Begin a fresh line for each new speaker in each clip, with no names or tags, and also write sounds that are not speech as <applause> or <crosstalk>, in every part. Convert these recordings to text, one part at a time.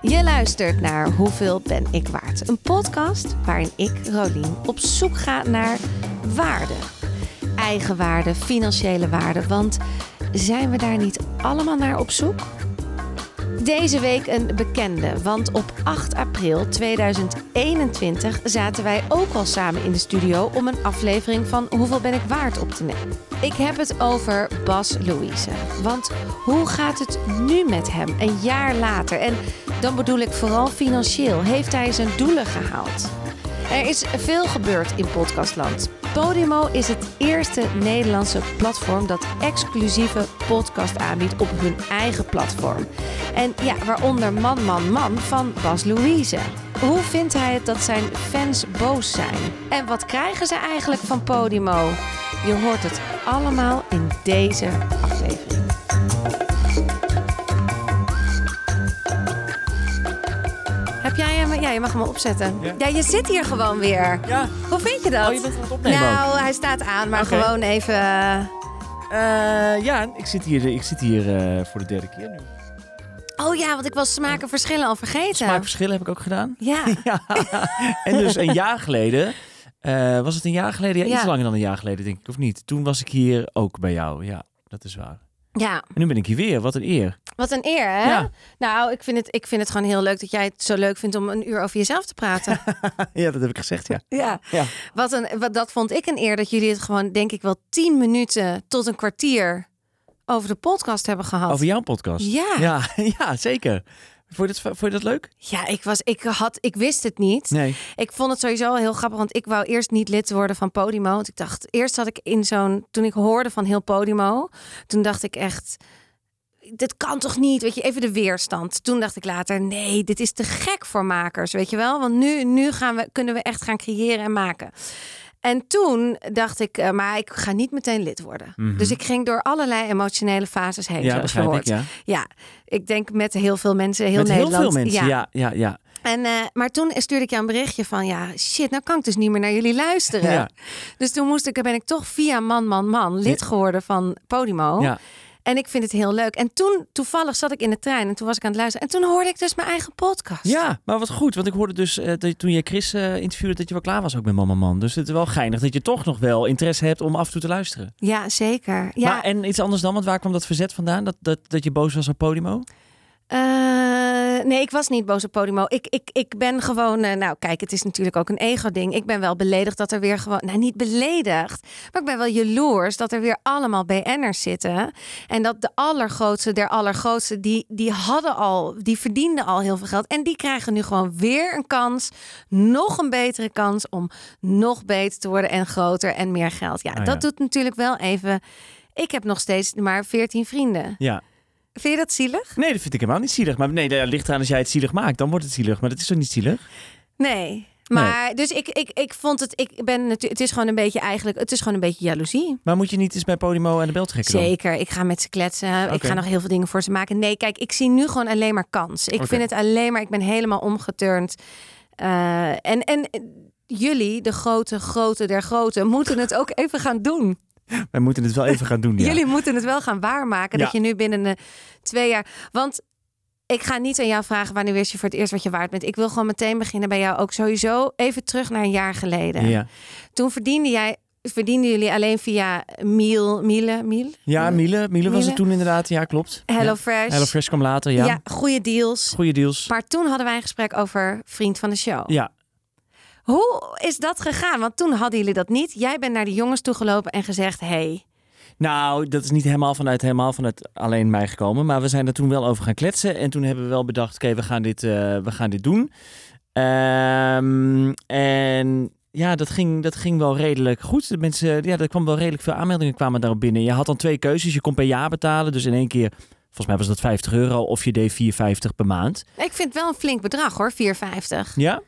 Je luistert naar Hoeveel ben ik waard? Een podcast waarin ik, Rolien, op zoek ga naar waarde. Eigen waarde, financiële waarde, want zijn we daar niet allemaal naar op zoek? Deze week een bekende, want op 8 april 2021 zaten wij ook al samen in de studio om een aflevering van Hoeveel ben ik waard op te nemen. Ik heb het over Bas Louise. Want hoe gaat het nu met hem een jaar later? En dan bedoel ik vooral financieel. Heeft hij zijn doelen gehaald? Er is veel gebeurd in podcastland. Podimo is het eerste Nederlandse platform dat exclusieve podcast aanbiedt op hun eigen platform. En ja, waaronder Man Man Man van Bas Louise. Hoe vindt hij het dat zijn fans boos zijn? En wat krijgen ze eigenlijk van Podimo? Je hoort het allemaal in deze aflevering. Heb jij hem? Ja, je mag hem al opzetten. Ja,
Ja.
je zit hier gewoon weer.
Ja.
Hoe vind je dat?
Oh, je bent aan het opnemen
Nou, hij staat aan, maar
Oké.
gewoon even.
Eh, ja, ik zit hier, ik zit hier eh, voor de derde keer nu.
Oh ja, want ik was smaken verschillen al vergeten.
Smaakverschillen heb ik ook
<laughs>
gedaan.
Ja.
<laughs> Ja. en dus een jaar geleden, eh, was het een jaar geleden? Ja,
Ja.
iets langer dan een jaar geleden denk ik, of niet? Toen was ik hier ook bij jou, ja, dat is waar.
ja,
En nu ben ik hier weer, wat een
<laughs>
eer.
wat een eer, hè?
Ja.
Nou, ik vind, het, ik vind het gewoon heel leuk dat jij het zo leuk vindt om een uur over jezelf te
<laughs>
praten.
ja, dat heb ik gezegd, ja.
ja.
Ja,
Wat een, wat, dat vond ik een eer dat jullie het gewoon, denk ik, wel tien minuten tot een kwartier over de podcast hebben gehad.
over jouw podcast.
Ja.
Ja, <laughs> ja, zeker. Vond je, dat, vond je dat leuk?
Ja, ik, was, ik, had, ik wist het niet.
Nee.
Ik vond het sowieso heel grappig, want ik wou eerst niet lid worden van Podimo. Want ik dacht, eerst had ik in zo'n, toen ik hoorde van heel Podimo, toen dacht ik echt, dit kan toch niet? Weet je, even de weerstand. Toen dacht ik later, nee, dit is te gek voor makers, weet je wel? Want nu, nu gaan we, kunnen we echt gaan creëren en maken. En toen dacht ik, eh, maar ik ga niet meteen lid worden. Dus ik ging door allerlei emotionele fases heen,
Mhm. Ja,
zoals je
begrijp ik,
hoort.
ja.
ja, ik denk met heel veel mensen, heel
Met heel
Nederland.
veel mensen, ja, ja, ja.
En, eh, maar toen stuurde ik jou een berichtje van ja, shit, nou kan ik dus niet meer naar jullie luisteren.
Ja.
Dus toen moest ik, ben ik toch via Man Man Man lid geworden van Podimo.
Ja.
En ik vind het heel leuk. En toen toevallig zat ik in de trein en toen was ik aan het luisteren. En toen hoorde ik dus mijn eigen podcast.
Ja, maar wat goed. Want ik hoorde dus eh, dat je- toen je Chris eh, interviewde dat je wel klaar was ook met Mama Man. Dus het is wel geinig dat je toch nog wel interesse hebt om af en toe te luisteren.
Ja, zeker. Ja,
Maar, en iets anders dan, want waar kwam dat verzet vandaan? Dat, dat, dat je boos was op Podimo?
Eh, nee, ik was niet boos op Podimo. Ik, ik, ik ben gewoon... eh, nou, kijk, het is natuurlijk ook een ego-ding. Ik ben wel beledigd dat er weer gewoon... Nou, niet beledigd, maar ik ben wel jaloers... dat er weer allemaal BN'ers zitten. En dat de allergrootste der allergrootste... Die, die hadden al... Die verdienden al heel veel geld. En die krijgen nu gewoon weer een kans. Nog een betere kans om nog beter te worden... en groter en meer geld. Ja,
Ah,
dat
ja.
doet natuurlijk wel even... Ik heb nog steeds maar 14 vrienden.
Ja.
Vind je dat zielig?
Nee, dat vind ik helemaal niet zielig. Maar nee, dat ligt eraan als jij het zielig maakt. Dan wordt het zielig. Maar dat is toch niet zielig?
Nee. Maar dus ik, ik, ik vond het, ik ben natuurlijk, het is gewoon een beetje eigenlijk, het is gewoon een beetje jaloezie.
Maar moet je niet eens bij Podimo aan de bel trekken dan?
Zeker, ik ga met ze kletsen, ik
Oké.
ga nog heel veel dingen voor ze maken. Nee, kijk, ik zie nu gewoon alleen maar kans. Ik
Oké.
vind het alleen maar, ik ben helemaal omgeturnd. Eh, en, en eh, jullie, de grote, grote der grote, moeten het ook even gaan doen.
Wij moeten het wel even gaan doen, ja.
Jullie moeten het wel gaan waarmaken dat
Ja.
je nu binnen de twee jaar. Want ik ga niet aan jou vragen wanneer wist je voor het eerst wat je waard bent. Ik wil gewoon meteen beginnen bij jou ook sowieso even terug naar een jaar geleden.
Ja,
Toen verdiende jij, verdienden jullie alleen via Miel, Miele, Miel,
ja Miele, Miele was
Miele.
het toen inderdaad. Ja, klopt.
Hello
ja.
Fresh.
Hello Fresh kwam later,
ja.
ja.
goede deals.
Goeie deals.
Maar toen hadden wij een gesprek over vriend van de show.
Ja,
Hoe is dat gegaan? Want toen hadden jullie dat niet. Jij bent naar de jongens toegelopen en gezegd: hey,
Nou, dat is niet helemaal vanuit, helemaal vanuit alleen mij gekomen. Maar we zijn er toen wel over gaan kletsen. En toen hebben we wel bedacht, oké, we gaan dit, eh, we gaan dit doen. Ehm, en ja, dat ging, dat ging wel redelijk goed. De mensen, ja, er kwam wel redelijk veel aanmeldingen kwamen daarop binnen. Je had dan twee keuzes. Je kon per jaar betalen. Dus in één keer, volgens mij was dat 50 euro. Of je deed 4,50 per maand.
ik vind het wel een flink bedrag hoor, 4,50.
Ja?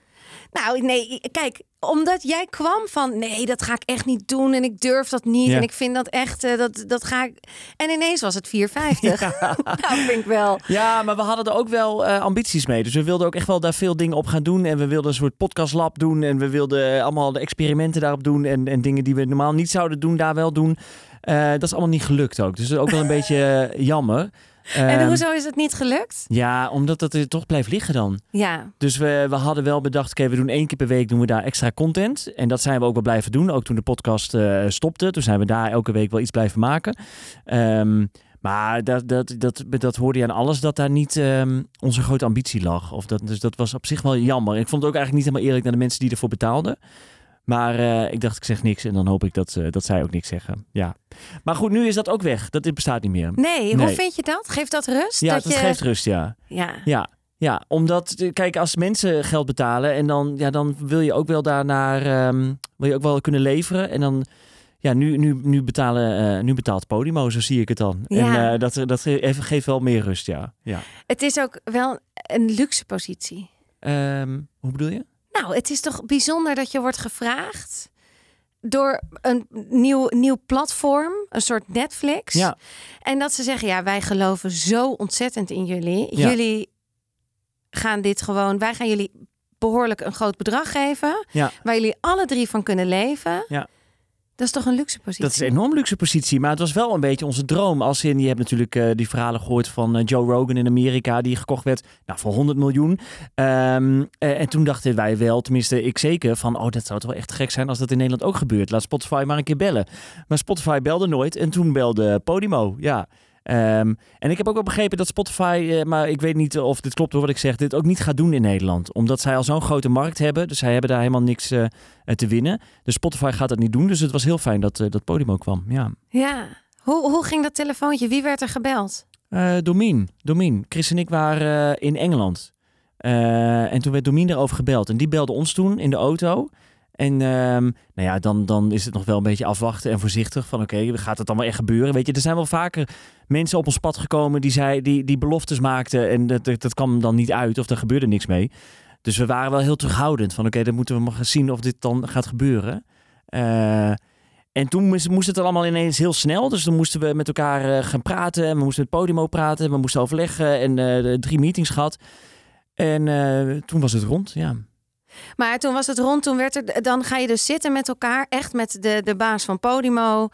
Nou, nee, kijk, omdat jij kwam van nee, dat ga ik echt niet doen en ik durf dat niet
Ja.
en ik vind dat echt, eh, dat, dat ga ik. En ineens was het 4,50. <laughs> nou, vind ik wel.
Ja, maar we hadden er ook wel eh, ambities mee. Dus we wilden ook echt wel daar veel dingen op gaan doen. En we wilden een soort podcastlab doen. En we wilden eh, allemaal de experimenten daarop doen. En, en dingen die we normaal
<laughs>
niet zouden doen, daar wel doen. Eh, dat is allemaal niet gelukt ook. Dus dat is ook wel een beetje eh, jammer.
En
Ehm,
hoezo is het niet gelukt?
Ja, omdat dat er toch blijft liggen dan.
Ja,
Dus we, we hadden wel bedacht, oké, we doen één keer per week doen we daar extra content. En dat zijn we ook wel blijven doen. Ook toen de podcast eh, stopte. Toen zijn we daar elke week wel iets blijven maken. Ehm, maar dat, dat, dat, dat hoorde je aan alles dat daar niet ehm, onze grote ambitie lag. Of dat, dus dat was op zich wel jammer. Ik vond het ook eigenlijk niet helemaal eerlijk naar de mensen die ervoor betaalden. Maar eh, ik dacht, ik zeg niks. En dan hoop ik dat, eh, dat zij ook niks zeggen. Ja. Maar goed, nu is dat ook weg. Dat dit bestaat niet meer.
nee, hoe
Nee.
vind je dat? Geeft dat rust?
Ja,
Dus dat
dat
je...
geeft rust, ja.
Ja.
Ja, ja, omdat, eh, kijk, als mensen geld betalen en dan, ja, dan wil je ook wel daarnaar, ehm, wil je ook wel kunnen leveren. En dan, ja, nu, nu, nu, betalen, eh, nu betaalt Podimo, zo zie ik het dan.
Ja.
En eh, dat, dat ge- even- geeft wel meer rust, ja. ja.
Het is ook wel een luxe positie.
Ehm, hoe bedoel je?
Nou, het is toch bijzonder dat je wordt gevraagd door een nieuw, nieuw platform, een soort Netflix.
Ja,
En dat ze zeggen, ja, wij geloven zo ontzettend in jullie.
Ja.
Jullie gaan dit gewoon, wij gaan jullie behoorlijk een groot bedrag geven.
Ja.
Waar jullie alle drie van kunnen leven.
Ja.
Dat is toch een luxe positie?
dat is een enorm luxe positie, maar het was wel een beetje onze droom. Als in, je hebt natuurlijk eh, die verhalen gehoord van eh, Joe Rogan in Amerika, die gekocht werd nou, voor 100 miljoen. Ehm, eh, en toen dachten wij wel, tenminste ik zeker, van oh, dat zou toch wel echt gek zijn als dat in Nederland ook gebeurt. Laat Spotify maar een keer bellen. Maar Spotify belde nooit en toen belde Podimo, ja. Ehm, en ik heb ook wel begrepen dat Spotify, eh, maar ik weet niet of dit klopt hoor wat ik zeg, dit ook niet gaat doen in Nederland. Omdat zij al zo'n grote markt hebben, dus zij hebben daar helemaal niks eh, eh, te winnen. Dus Spotify gaat dat niet doen, dus het was heel fijn dat, eh, dat Podimo kwam, ja.
Ja. Hoe, hoe ging dat telefoontje? Wie werd er gebeld?
Eh Domien. Domien. Chris en ik waren eh, in Engeland. Eh, en toen werd Domien erover gebeld. En die belde ons toen in de auto. En ehm, nou ja, dan, dan is het nog wel een beetje afwachten en voorzichtig. Van oké, gaat het allemaal echt gebeuren? Weet je, er zijn wel vaker mensen op ons pad gekomen die, zei, die, die beloftes maakten. En dat, dat, dat kwam dan niet uit of er gebeurde niks mee. Dus we waren wel heel terughoudend. Van oké, dan moeten we maar gaan zien of dit dan gaat gebeuren. Eh, en toen moest, moest het allemaal ineens heel snel. Dus dan moesten we met elkaar eh, gaan praten. En we moesten met Podimo praten. We moesten overleggen. En eh, de drie meetings gehad. En eh, toen was het rond, ja.
Maar toen was het rond, toen werd er, dan ga je dus zitten met elkaar, echt met de, de baas van Podimo.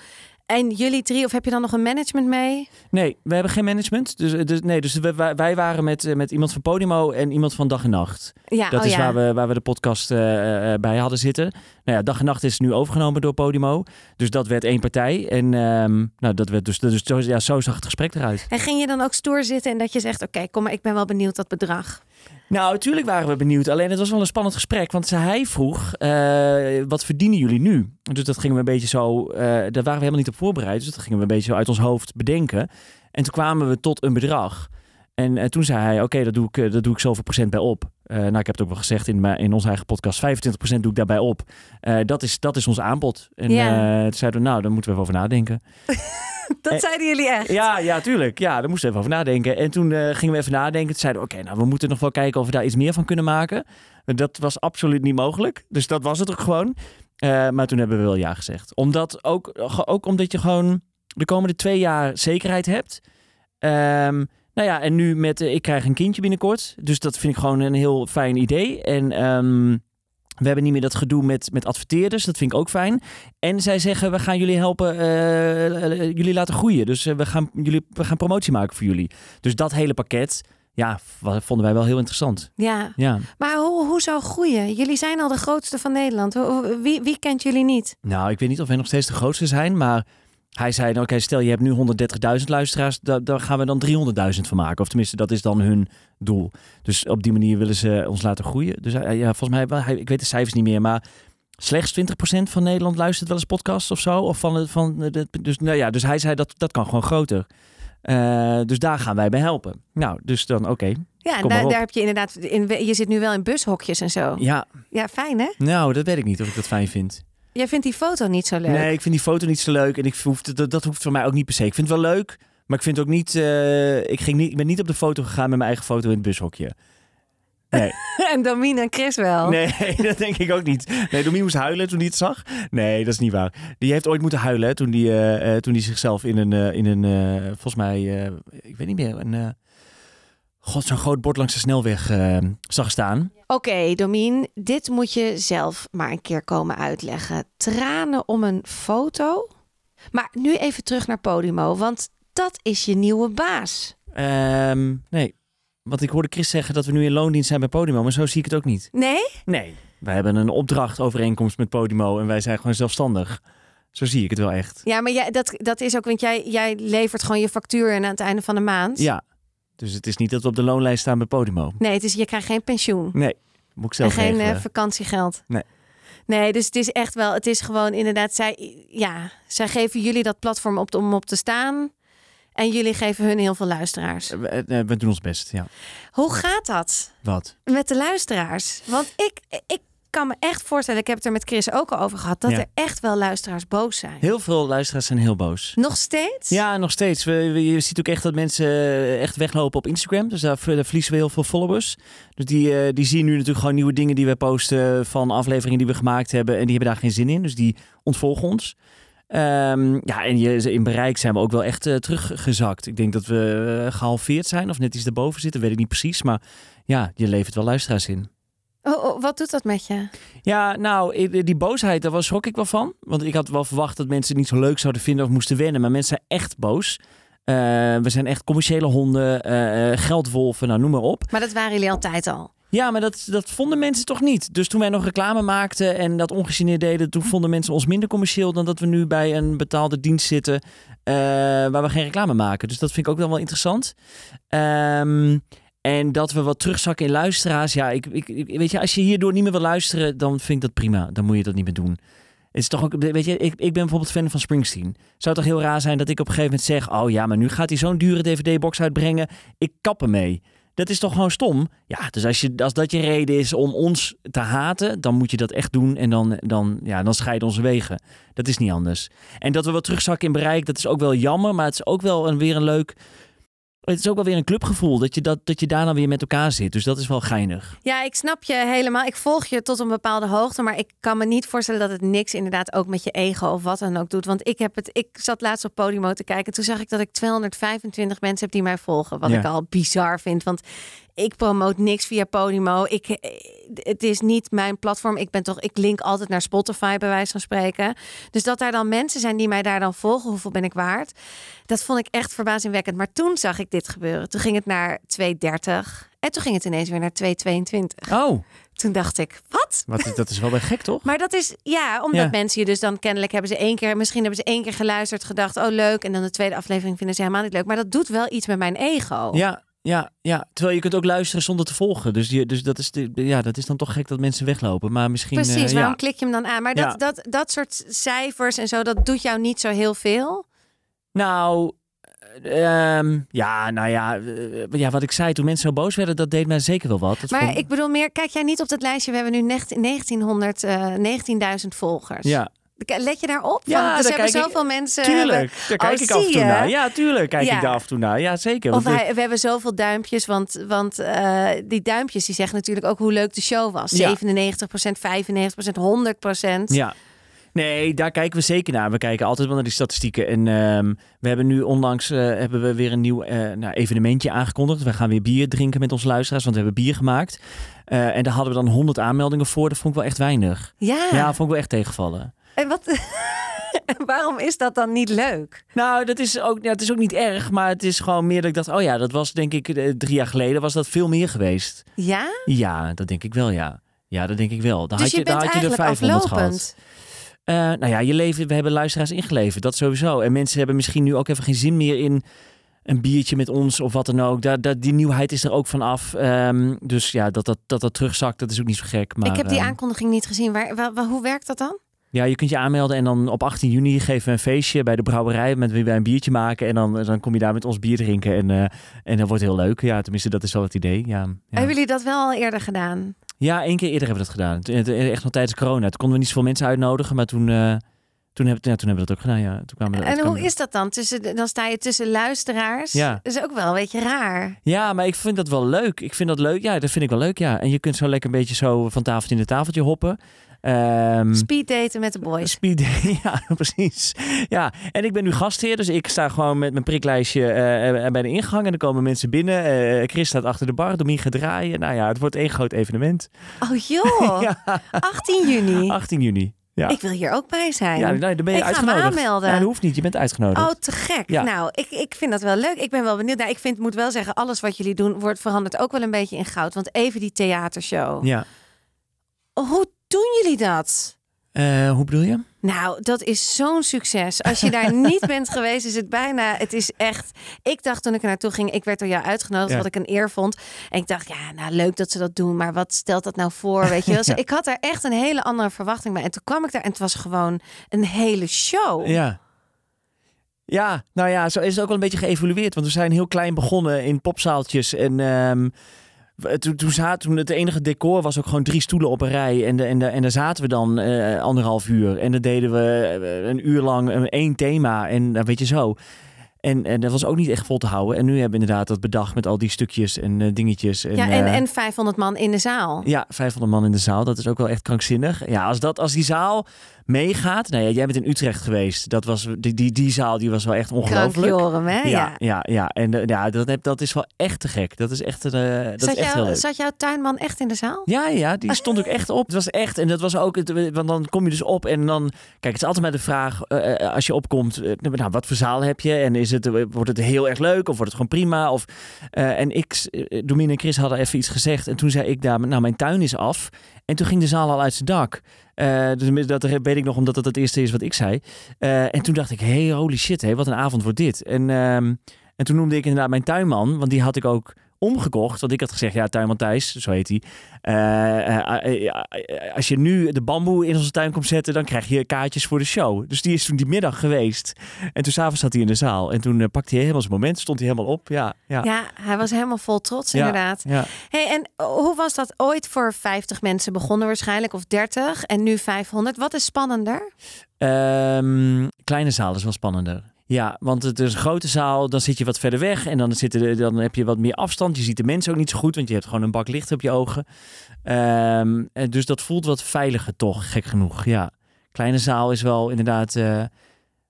En jullie drie, of heb je dan nog een management mee?
Nee, we hebben geen management. Dus, eh, dus, nee, dus we- wij, wij waren met, eh, met iemand van Podimo en iemand van Dag en Nacht.
Ja,
Dat
oh
is
ja.
waar, we, waar we de podcast eh, eh, bij hadden zitten. Nou ja, Dag en Nacht is nu overgenomen door Podimo. Dus dat werd één partij. En ehm, nou, dat werd dus, dus zo, ja, zo zag het gesprek eruit.
En ging je dan ook stoer zitten en dat je zegt, oké, kom maar, ik ben wel benieuwd dat bedrag. <laughs>
Nou, natuurlijk waren we benieuwd. Alleen het was wel een spannend gesprek. Want ze- hij vroeg, eh, wat verdienen jullie nu? Dus dat gingen we een beetje zo... eh, daar waren we helemaal niet op voorbereid. Dus dat gingen we een beetje zo uit ons hoofd bedenken. En toen kwamen we tot een bedrag. En eh, toen zei hij, oké, dat doe ik, eh, dat doe ik zoveel procent bij op. Eh, nou, ik heb het ook wel gezegd in, mijn- in onze eigen podcast. 25% doe ik daarbij op. Eh, dat, is, dat is ons aanbod. En
Ja.
eh, toen zeiden we, nou, daar moeten we even over nadenken.
Dat
Eh,
zeiden jullie echt.
Ja, ja, tuurlijk. Ja, daar moesten we even over nadenken. En toen eh, gingen we even nadenken. Toen zeiden we, oké, nou, we moeten nog wel kijken of we daar iets meer van kunnen maken. Maar Dat was absoluut niet mogelijk. Dus dat was het ook gewoon. Eh, maar toen hebben we wel ja gezegd. Omdat ook, ge- ook omdat je gewoon de komende twee jaar zekerheid hebt. Ehm, nou ja, en nu met, eh, ik krijg een kindje binnenkort. Dus dat vind ik gewoon een heel fijn idee. En ehm, we hebben niet meer dat gedoe met, met adverteerders. Dat vind ik ook fijn. En zij zeggen, we gaan jullie helpen, eh, eh, eh, jullie laten groeien. Dus eh, we, gaan, jullie, we gaan promotie maken voor jullie. Dus dat hele pakket, ja, v- vonden wij wel heel interessant.
Ja.
Ja.
Maar hoe, hoe zou groeien? Jullie zijn al de grootste van Nederland. Hoe- hoe- Wie, wie kent jullie niet?
Nou, ik weet niet of wij nog steeds de grootste zijn, maar hij zei, nou, oké, stel je hebt nu 130.000 luisteraars, da- daar gaan we dan 300.000 van maken. Of tenminste, dat is dan hun doel. Dus op die manier willen ze ons laten groeien. Dus hij- ja, volgens mij, wel- hij, ik weet de cijfers niet meer, maar slechts 20% van Nederland luistert wel eens podcasts of zo. Of van, het- van, eh, de- dus, nou ja, dus hij zei, dat, dat kan gewoon groter. Eh, dus daar gaan wij bij helpen. Nou, dus dan oké.
Ja, en
Kom maar
daar,
op.
daar heb je inderdaad. In, je zit nu wel in bushokjes en zo.
Ja,
Ja, fijn hè?
nou, dat weet ik niet of ik dat fijn vind.
Jij vindt die foto niet zo leuk.
Nee, ik vind die foto niet zo leuk. En ik hoef, dat, dat hoeft voor mij ook niet per se. Ik vind het wel leuk, maar ik vind het ook niet, eh, ik, ging niet... Ik ben niet op de foto gegaan met mijn eigen foto in het bushokje. Nee,
<laughs> en Domine en Chris wel.
nee <laughs> dat denk ik ook niet. Nee, Domien moest huilen toen hij het zag. Nee, dat is niet waar. Die heeft ooit moeten huilen hè, toen die, eh, eh, toen die zichzelf in een... eh, in een eh, volgens mij, eh, ik weet niet meer, een... eh, God, zo'n groot bord langs de snelweg eh, zag staan.
Oké, Domien, dit moet je zelf maar een keer komen uitleggen. Tranen om een foto. Maar nu even terug naar Podimo, want dat is je nieuwe baas.
Ehm, nee. Want ik hoorde Chris zeggen dat we nu in loondienst zijn bij Podimo, maar zo zie ik het ook niet.
Nee?
Nee. We hebben een opdrachtovereenkomst met Podimo en wij zijn gewoon zelfstandig. Zo zie ik het wel echt.
Ja, maar jij, dat, dat is ook, want jij, jij levert gewoon je factuur in aan het einde van de maand.
Ja. Dus het is niet dat we op de loonlijst staan bij Podimo.
Nee, het is, je krijgt geen pensioen.
Nee. Moet ik
En
zelf
geen eh,
regelen.
vakantiegeld.
Nee.
Nee, dus het is echt wel, het is gewoon inderdaad, zij, ja, zij geven jullie dat platform op, om op te staan. En jullie geven hun heel veel luisteraars.
we, eh, we doen ons best, ja.
Hoe gaat dat
Wat?
met de luisteraars? Want ik, ik kan me echt voorstellen, ik heb het er met Chris ook al over gehad, dat
Ja.
er echt wel luisteraars boos zijn.
Heel veel luisteraars zijn heel boos.
Nog steeds?
Ja, nog steeds. We, we- je ziet ook echt dat mensen eh, echt weglopen op Instagram. Dus daar, ver- daar verliezen we heel veel followers. Dus die, eh, die zien nu natuurlijk gewoon nieuwe dingen die we posten van afleveringen die we gemaakt hebben. En die hebben daar geen zin in. Dus die ontvolgen ons. Ehm, ja, en je, in bereik zijn we ook wel echt eh, teruggezakt. Ik denk dat we eh, gehalveerd zijn of net iets daarboven zitten. Weet ik niet precies. Maar ja, je levert wel luisteraars in.
Oh, oh, wat doet dat met je?
Ja, nou, i- die boosheid, daar was- schrok ik wel van. Want ik had wel verwacht dat mensen het niet zo leuk zouden vinden of moesten wennen. Maar mensen zijn echt boos. Eh, we zijn echt commerciële honden, eh, eh, geldwolven, nou noem maar op.
Maar dat waren jullie altijd al.
Ja, maar dat, dat vonden mensen toch niet. Dus toen wij nog reclame maakten en dat ongegeneerd deden... toen vonden mensen ons minder commercieel dan dat we nu bij een betaalde dienst zitten... eh, waar we geen reclame maken. Dus dat vind ik ook dan wel interessant. Ehm, en dat we wat terugzakken in luisteraars. Ja, ik, ik, ik- weet je, als je hierdoor niet meer wil luisteren, dan vind ik dat prima. Dan moet je dat niet meer doen. Het is toch ook, weet je, ik, ik ben bijvoorbeeld fan van Springsteen. Zou het toch heel raar zijn dat ik op een gegeven moment zeg: Oh ja, maar nu gaat hij zo'n dure DVD-box uitbrengen. Ik kap ermee. Dat is toch gewoon stom? Ja, dus als, je, als dat je reden is om ons te haten, dan moet je dat echt doen. En dan, dan, ja, dan scheiden onze wegen. Dat is niet anders. En dat we wat terugzakken in bereik, dat is ook wel jammer. Maar het is ook wel een, weer een leuk. Het is ook wel weer een clubgevoel dat je, dat, dat je daar dan weer met elkaar zit. Dus dat is wel geinig.
Ja, ik snap je helemaal. Ik volg je tot een bepaalde hoogte. Maar ik kan me niet voorstellen dat het niks inderdaad ook met je ego of wat dan ook doet. Want ik, heb het, ik zat laatst op Podimo te kijken. En toen zag ik dat ik 225 mensen heb die mij volgen. Wat
Ja.
ik al bizar vind. Want ik promote niks via Podimo. Ik, eh, het is niet mijn platform. Ik, ben toch, ik link altijd naar Spotify, bij wijze van spreken. Dus dat daar dan mensen zijn die mij daar dan volgen. Hoeveel ben ik waard? Dat vond ik echt verbazingwekkend. Maar toen zag ik dit gebeuren. Toen ging het naar 230. En toen ging het ineens weer naar 222.
Oh,
Toen dacht ik, wat?
wat, is- dat is wel weer gek, toch?
Maar dat is, ja, omdat
Ja.
mensen je dus dan kennelijk hebben ze één keer, misschien hebben ze één keer geluisterd, gedacht, oh leuk. En dan de tweede aflevering vinden ze helemaal niet leuk. Maar dat doet wel iets met mijn ego.
<laughs> Ja, ja, ja. Terwijl je kunt ook luisteren zonder te volgen. Dus, je, dus dat, is de, ja, dat is dan toch gek dat mensen weglopen. Maar misschien. eh,
Precies, waarom
ja.
klik je hem dan aan? Maar dat,
Ja.
dat, dat soort cijfers en zo, dat doet jou niet zo heel veel.
Nou. ehm, ja, nou ja, eh, ja, wat ik zei toen mensen zo boos werden, dat deed mij zeker wel wat. Dat
Maar
vond-
ik bedoel meer, kijk jij niet op dat lijstje, we hebben nu 1900, eh 19.000 volgers.
Ja,
Let je daarop? Want,
Ja,
dus
daar
hebben
kijk ik-
zoveel mensen... hebben-
tuurlijk. Daar
Oh,
kijk ik af en
zie
toe
je?
naar. Ja, tuurlijk kijk
Ja.
ik daar af en toe naar. Ja, zeker.
Of
Want
hij- we hebben zoveel duimpjes, want, want eh, die duimpjes die zeggen natuurlijk ook hoe leuk de show was.
Ja.
97%, 95%, 100%.
Ja. Nee, daar kijken we zeker naar. We kijken altijd wel naar die statistieken. En ehm, we hebben nu onlangs eh, hebben we weer een nieuw eh, nou, evenementje aangekondigd. We gaan weer bier drinken met onze luisteraars, want we hebben bier gemaakt. Eh, en daar hadden we dan 100 aanmeldingen voor. Dat vond ik wel echt weinig.
Ja.
Ja, vond ik wel echt tegenvallen.
En wat, <laughs> en waarom is dat dan niet leuk?
Nou, dat is ook, ja, het is ook niet erg, maar het is gewoon meer dat ik dacht... oh ja, dat was denk ik eh, drie jaar geleden, was dat veel meer geweest.
Ja?
Ja, dat denk ik wel, ja. Ja, dat denk ik wel. Dan
dus
had
je,
je, dan
bent
had je er
eigenlijk
500 gehad.
aflopend.
Eh, nou ja, je leven, we hebben luisteraars ingeleverd, dat sowieso. En mensen hebben misschien nu ook even geen zin meer in een biertje met ons of wat dan ook. Daar, daar, die nieuwheid is er ook van af. Ehm, dus ja, dat dat, dat dat terugzakt, dat is ook niet zo gek. Maar,
Ik heb die
ehm,
aankondiging niet gezien. Waar, waar- waar- hoe werkt dat dan?
Ja, je kunt je aanmelden en dan op 18 juni geven we een feestje bij de brouwerij met wie wij een biertje maken. En dan, dan kom je daar met ons bier drinken en, eh, en dat wordt heel leuk. Ja, tenminste, dat is wel het idee. Ja, ja.
Hebben jullie dat wel al eerder gedaan?
Ja, één keer eerder hebben we dat gedaan. Toen- toen- Echt nog tijdens corona. Toen konden we niet zoveel mensen uitnodigen, maar toen, eh, toen, heb, ja, toen hebben we dat ook gedaan. Ja. Toen kwamen we-
En
toen
hoe
kwamen-
is dat dan? Tussen, de- dan sta je tussen luisteraars.
Ja.
Dat is ook wel een beetje raar.
Ja, maar ik vind dat wel leuk. Ik vind dat leuk. Ja, dat vind ik wel leuk, ja. En je kunt zo lekker een beetje zo van tafeltje in de tafeltje hoppen. Ehm,
Speed daten met de boys.
<laughs> Speed, ja, precies. Ja, en ik ben nu gastheer, dus ik sta gewoon met mijn priklijstje eh, eh, bij de ingang. En er komen mensen binnen. Eh, Chris staat achter de bar, Domien gaat draaien. Nou ja, het wordt één groot evenement.
Oh joh,
Ja, <laughs>
18 juni.
18 juni. Ja.
Ik wil hier ook bij zijn.
Ja, nou, dan ben je
ik ga me
uitgenodigd.
aanmelden.
Ja, dat hoeft niet. Je bent uitgenodigd.
Oh, te gek.
Ja.
Nou, ik, ik vind dat wel leuk. Ik ben wel benieuwd. Nou, ik vind, moet wel zeggen, alles wat jullie doen wordt veranderd ook wel een beetje in goud. Want even die theatershow.
Ja.
Hoe doen jullie dat?
Eh, hoe bedoel je?
Nou, dat is zo'n succes. Als je
<laughs>
daar niet bent geweest, is het bijna. Het is echt. Ik dacht toen ik er naartoe ging, ik werd door jou uitgenodigd,
Ja.
wat ik een eer vond. En ik dacht, ja, nou leuk dat ze dat doen, maar wat stelt dat nou voor? Weet
<laughs>
je wel? Dus
Ja.
Ik had daar echt een hele andere verwachting bij. En toen kwam ik daar en het was gewoon een hele show.
Ja. Ja, nou ja, zo is het ook wel een beetje geëvolueerd. Want we zijn heel klein begonnen in popzaaltjes. En ehm, we- toen, toen, zaten, toen het enige decor was ook gewoon drie stoelen op een rij. En, de, en, de, en daar zaten we dan eh, anderhalf uur. En dan deden we eh, een uur lang een- één thema. En nou, weet je zo. En, en dat was ook niet echt vol te houden. En nu hebben we inderdaad dat bedacht met al die stukjes en eh, dingetjes. En,
Ja, en,
eh,
en 500 man in de zaal.
ja, 500 man in de zaal, dat is ook wel echt krankzinnig. Ja, als, dat, als die zaal meegaat. Nou ja, jij bent in Utrecht geweest. Dat was, die, die, die zaal die was wel echt ongelooflijk.
Krankjorum, hè?
ja,
Ja.
ja, ja. En eh, ja, dat, heb- dat is wel echt te gek. Dat is echt, eh, dat
Zat,
is echt heel
jouw,
leuk.
zat jouw tuinman echt in de zaal?
Ja, ja, die stond ook echt op. Het was echt, en dat was ook, het- want dan kom je dus op en dan, kijk, het is altijd maar de vraag, eh, eh, als je opkomt, eh, nou, wat voor zaal heb je? En is het, eh, wordt het heel erg leuk of wordt het gewoon prima? Of, eh, en ik, eh, Domine en Chris hadden even iets gezegd en toen zei ik daar, nou, mijn tuin is af. En toen ging de zaal al uit zijn dak. Eh, dus dat weet ik nog, omdat dat het eerste is wat ik zei. Eh, en toen dacht ik, hey, holy shit, hey, wat een avond wordt dit. En, ehm, en toen noemde ik inderdaad mijn tuinman, want die had ik ook omgekocht. Want ik had gezegd, ja, tuinman Thijs, zo heet hij. Eh, eh, eh, eh, eh, als je nu de bamboe in onze tuin komt zetten, dan krijg je kaartjes voor de show. Dus die is toen die middag geweest. En toen s'avonds zat hij in de zaal. En toen eh, pakte hij helemaal zijn moment, stond hij helemaal op. Ja, ja.
Ja, hij was helemaal vol trots,
Ja,
inderdaad.
ja.
Hey, en eh, hoe was dat ooit voor 50 mensen begonnen waarschijnlijk, of 30 en nu 500? Wat is spannender?
Ehm, kleine zaal is wel spannender. Ja, want het is een grote zaal, dan zit je wat verder weg en dan, zitten, de- dan heb je wat meer afstand. Je ziet de mensen ook niet zo goed, want je hebt gewoon een bak licht op je ogen. Ehm, en dus dat voelt wat veiliger toch, gek genoeg. Ja, kleine zaal is wel inderdaad eh,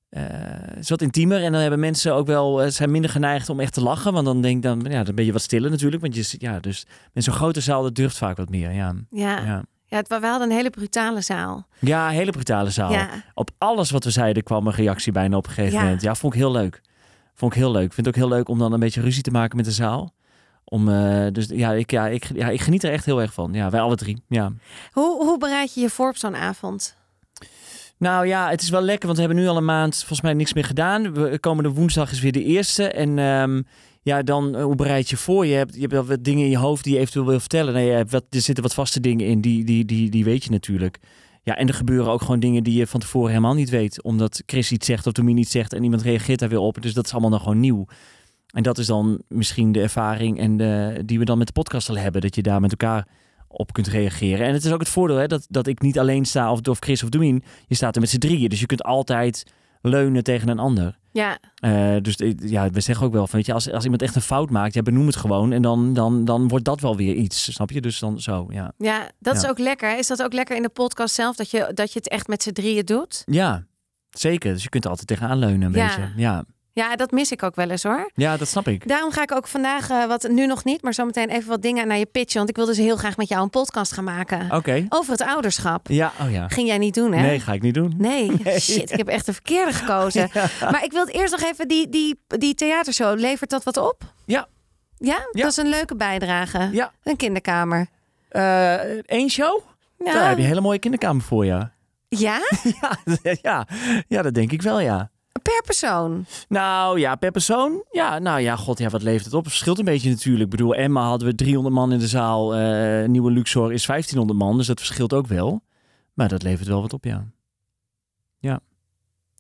eh, is wat intiemer en dan hebben mensen ook wel, eh, zijn minder geneigd om echt te lachen. Want dan, denk, dan, ja, dan ben je wat stiller natuurlijk, want je, zit- ja, dus met zo'n grote zaal, dat durft vaak wat meer. Ja,
Ja, ja.
ja.
het, we hadden een hele brutale zaal.
ja hele brutale zaal
Ja.
op alles wat we zeiden kwam een reactie bijna op een gegeven
Ja.
moment. Ja, vond ik heel leuk. Vond ik heel leuk. Vind het ook heel leuk om dan een beetje ruzie te maken met de zaal. Om, eh, dus ja ik, ja, ik, ja, ik geniet er echt heel erg van. Ja, wij alle drie. Ja.
Hoe, hoe bereid je je voor op zo'n avond?
Nou ja, het is wel lekker, want we hebben nu al een maand volgens mij niks meer gedaan. We, eh, komende woensdag is weer de eerste. En ehm, ja, dan eh, hoe bereid je voor? Je hebt, je hebt wel wat dingen in je hoofd die je eventueel wil vertellen. Nee, je hebt wat, er zitten wat vaste dingen in, die, die, die, die weet je natuurlijk. Ja, en er gebeuren ook gewoon dingen die je van tevoren helemaal niet weet. Omdat Chris iets zegt of Tommy iets zegt en iemand reageert daar weer op. Dus dat is allemaal dan gewoon nieuw. En dat is dan misschien de ervaring en de, die we dan met de podcast al hebben. Dat je daar met elkaar op kunt reageren. En het is ook het voordeel hè, dat, dat ik niet alleen sta of, of Chris of Domien. Je staat er met z'n drieën. Dus je kunt altijd leunen tegen een ander.
Ja,
Eh, dus eh, ja, we zeggen ook wel van, weet je, als, als iemand echt een fout maakt, ja, benoem het gewoon. En dan, dan, dan wordt dat wel weer iets, snap je? Dus dan zo, ja.
ja dat
Ja.
is ook lekker. Is dat ook lekker in de podcast zelf, dat je, dat je het echt met z'n drieën doet?
Ja, zeker. Dus je kunt er altijd tegenaan leunen een
Ja.
beetje. Ja.
Ja, dat mis ik ook wel eens hoor.
ja, dat
<laughs>
snap ik.
Daarom ga ik ook vandaag, eh, wat nu nog niet, maar zometeen even wat dingen naar je pitchen. Want ik wil dus heel graag met jou een podcast gaan maken.
Oké.
Over het ouderschap.
Ja, oh ja.
Ging jij niet doen, hè?
Nee, ga ik niet doen.
<laughs>
<laughs>
Nee, shit, ik heb echt de verkeerde gekozen. <laughs> Maar ik wil het eerst nog even, die, die, die theatershow, levert dat wat op?
Ja.
Ja?
Ja.
Dat is een leuke bijdrage.
Ja.
Een kinderkamer.
Eén Eh, show?
Ja?
Daar heb je een hele mooie kinderkamer voor,
<laughs>
ja.
ja?
ja. <laughs> Ja, ja, dat denk ik wel, ja.
Per persoon.
Nou ja, per persoon. Ja, nou ja, god, ja, wat levert het op? Het verschilt een beetje natuurlijk. Ik bedoel, Emma hadden we 300 man in de zaal. eh, Nieuwe Luxor is 1500 man, dus dat verschilt ook wel. Maar dat levert wel wat op, ja.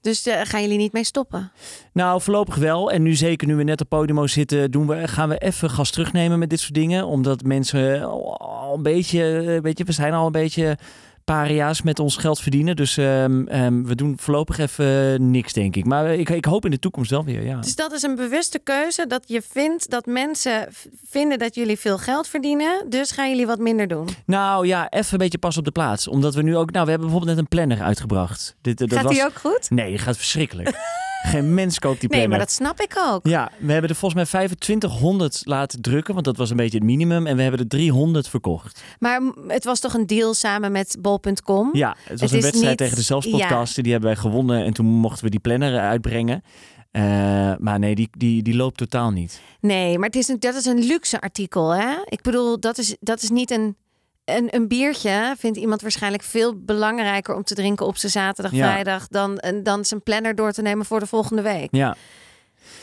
Dus eh, gaan jullie niet mee stoppen?
Nou, voorlopig wel. En nu zeker, nu we net op Podimo zitten, doen we, gaan we even gas terugnemen met dit soort dingen. Omdat mensen eh, al een beetje, eh, weet je, we zijn al een beetje paria's met ons geld verdienen. Dus ehm, ehm, we doen voorlopig even niks, denk ik. Maar ik, ik hoop in de toekomst wel weer, ja.
Dus dat is een bewuste keuze dat je vindt dat mensen v- vinden dat jullie veel geld verdienen. Dus gaan jullie wat minder doen.
Nou ja, even een beetje pas op de plaats. Omdat we nu ook... Nou, we hebben bijvoorbeeld net een planner uitgebracht. Dit, eh, dat
Gaat
was...
die ook goed? <laughs>
Nee, het gaat verschrikkelijk. Geen mens koopt die
Nee,
planner.
maar dat snap ik ook.
Ja, we hebben er volgens mij 2500 laten drukken, want dat was een beetje het minimum. En we hebben er 300 verkocht.
Maar m- het was toch een deal samen met bol.com?
Ja, het was
Hm? Het
een
is
wedstrijd
niet-
tegen de zelfspodcast. Die hebben wij gewonnen en toen mochten we die planner uitbrengen. Eh, maar nee, die, die, die loopt totaal niet.
Nee, maar het is een, dat is een luxe artikel. Hè? Ik bedoel, dat is, dat is niet een, een, een biertje. Vindt iemand waarschijnlijk veel belangrijker om te drinken op zijn zaterdag,
Ja.
vrijdag... Dan, een- dan zijn planner door te nemen voor de volgende week.
Ja,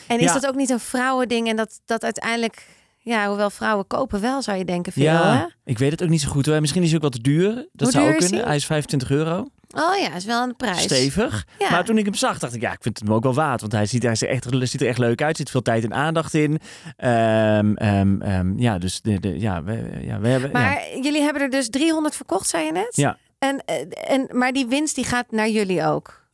En is
Ja.
dat ook niet een vrouwending? En dat, dat uiteindelijk, ja, hoewel vrouwen kopen wel, zou je denken veel, hè?
ja ik weet het ook niet zo goed. hoor. Misschien is hij ook wat te duur. Dat
Hoe
zou
duur
ook
is
kunnen.
hij?
Hij is 25 euro.
Oh ja, is wel een prijs.
Stevig.
Ja.
Maar toen ik hem zag, dacht ik, ja, ik vind het hem ook wel waard. Want hij ziet, hij is echt, ziet er echt leuk uit. Er zit veel tijd en aandacht in. Ehm, ehm, ehm, ja, dus de, de, ja, we, ja, we hebben... ja.
Maar jullie hebben er dus 300 verkocht, zei je net?
Ja.
En, eh, en, maar die winst die gaat naar jullie ook.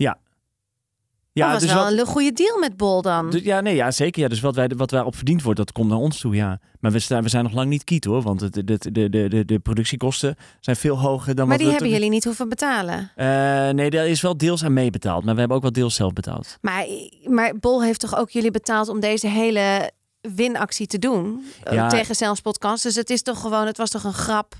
ja,
dat was
dus
wel
wat-
een goede deal met Bol dan.
dus- ja, nee, ja, zeker. Ja. Dus wat, wij, wat daarop verdiend wordt, dat komt naar ons toe, ja. Maar we, staan, we zijn nog lang niet kiet, hoor. Want het, het- de, de, de, de productiekosten zijn veel hoger dan
maar
wat dus-
die
we...
hebben jullie niet hoeven betalen.
Eh, nee, daar is wel deels aan meebetaald. Maar we hebben ook wel deels zelf betaald.
Maar, maar Bol heeft toch ook jullie betaald om deze hele winactie te doen eh,
Ja.
tegen Zelfs Podcast. Dus het is toch gewoon, het was toch een grap.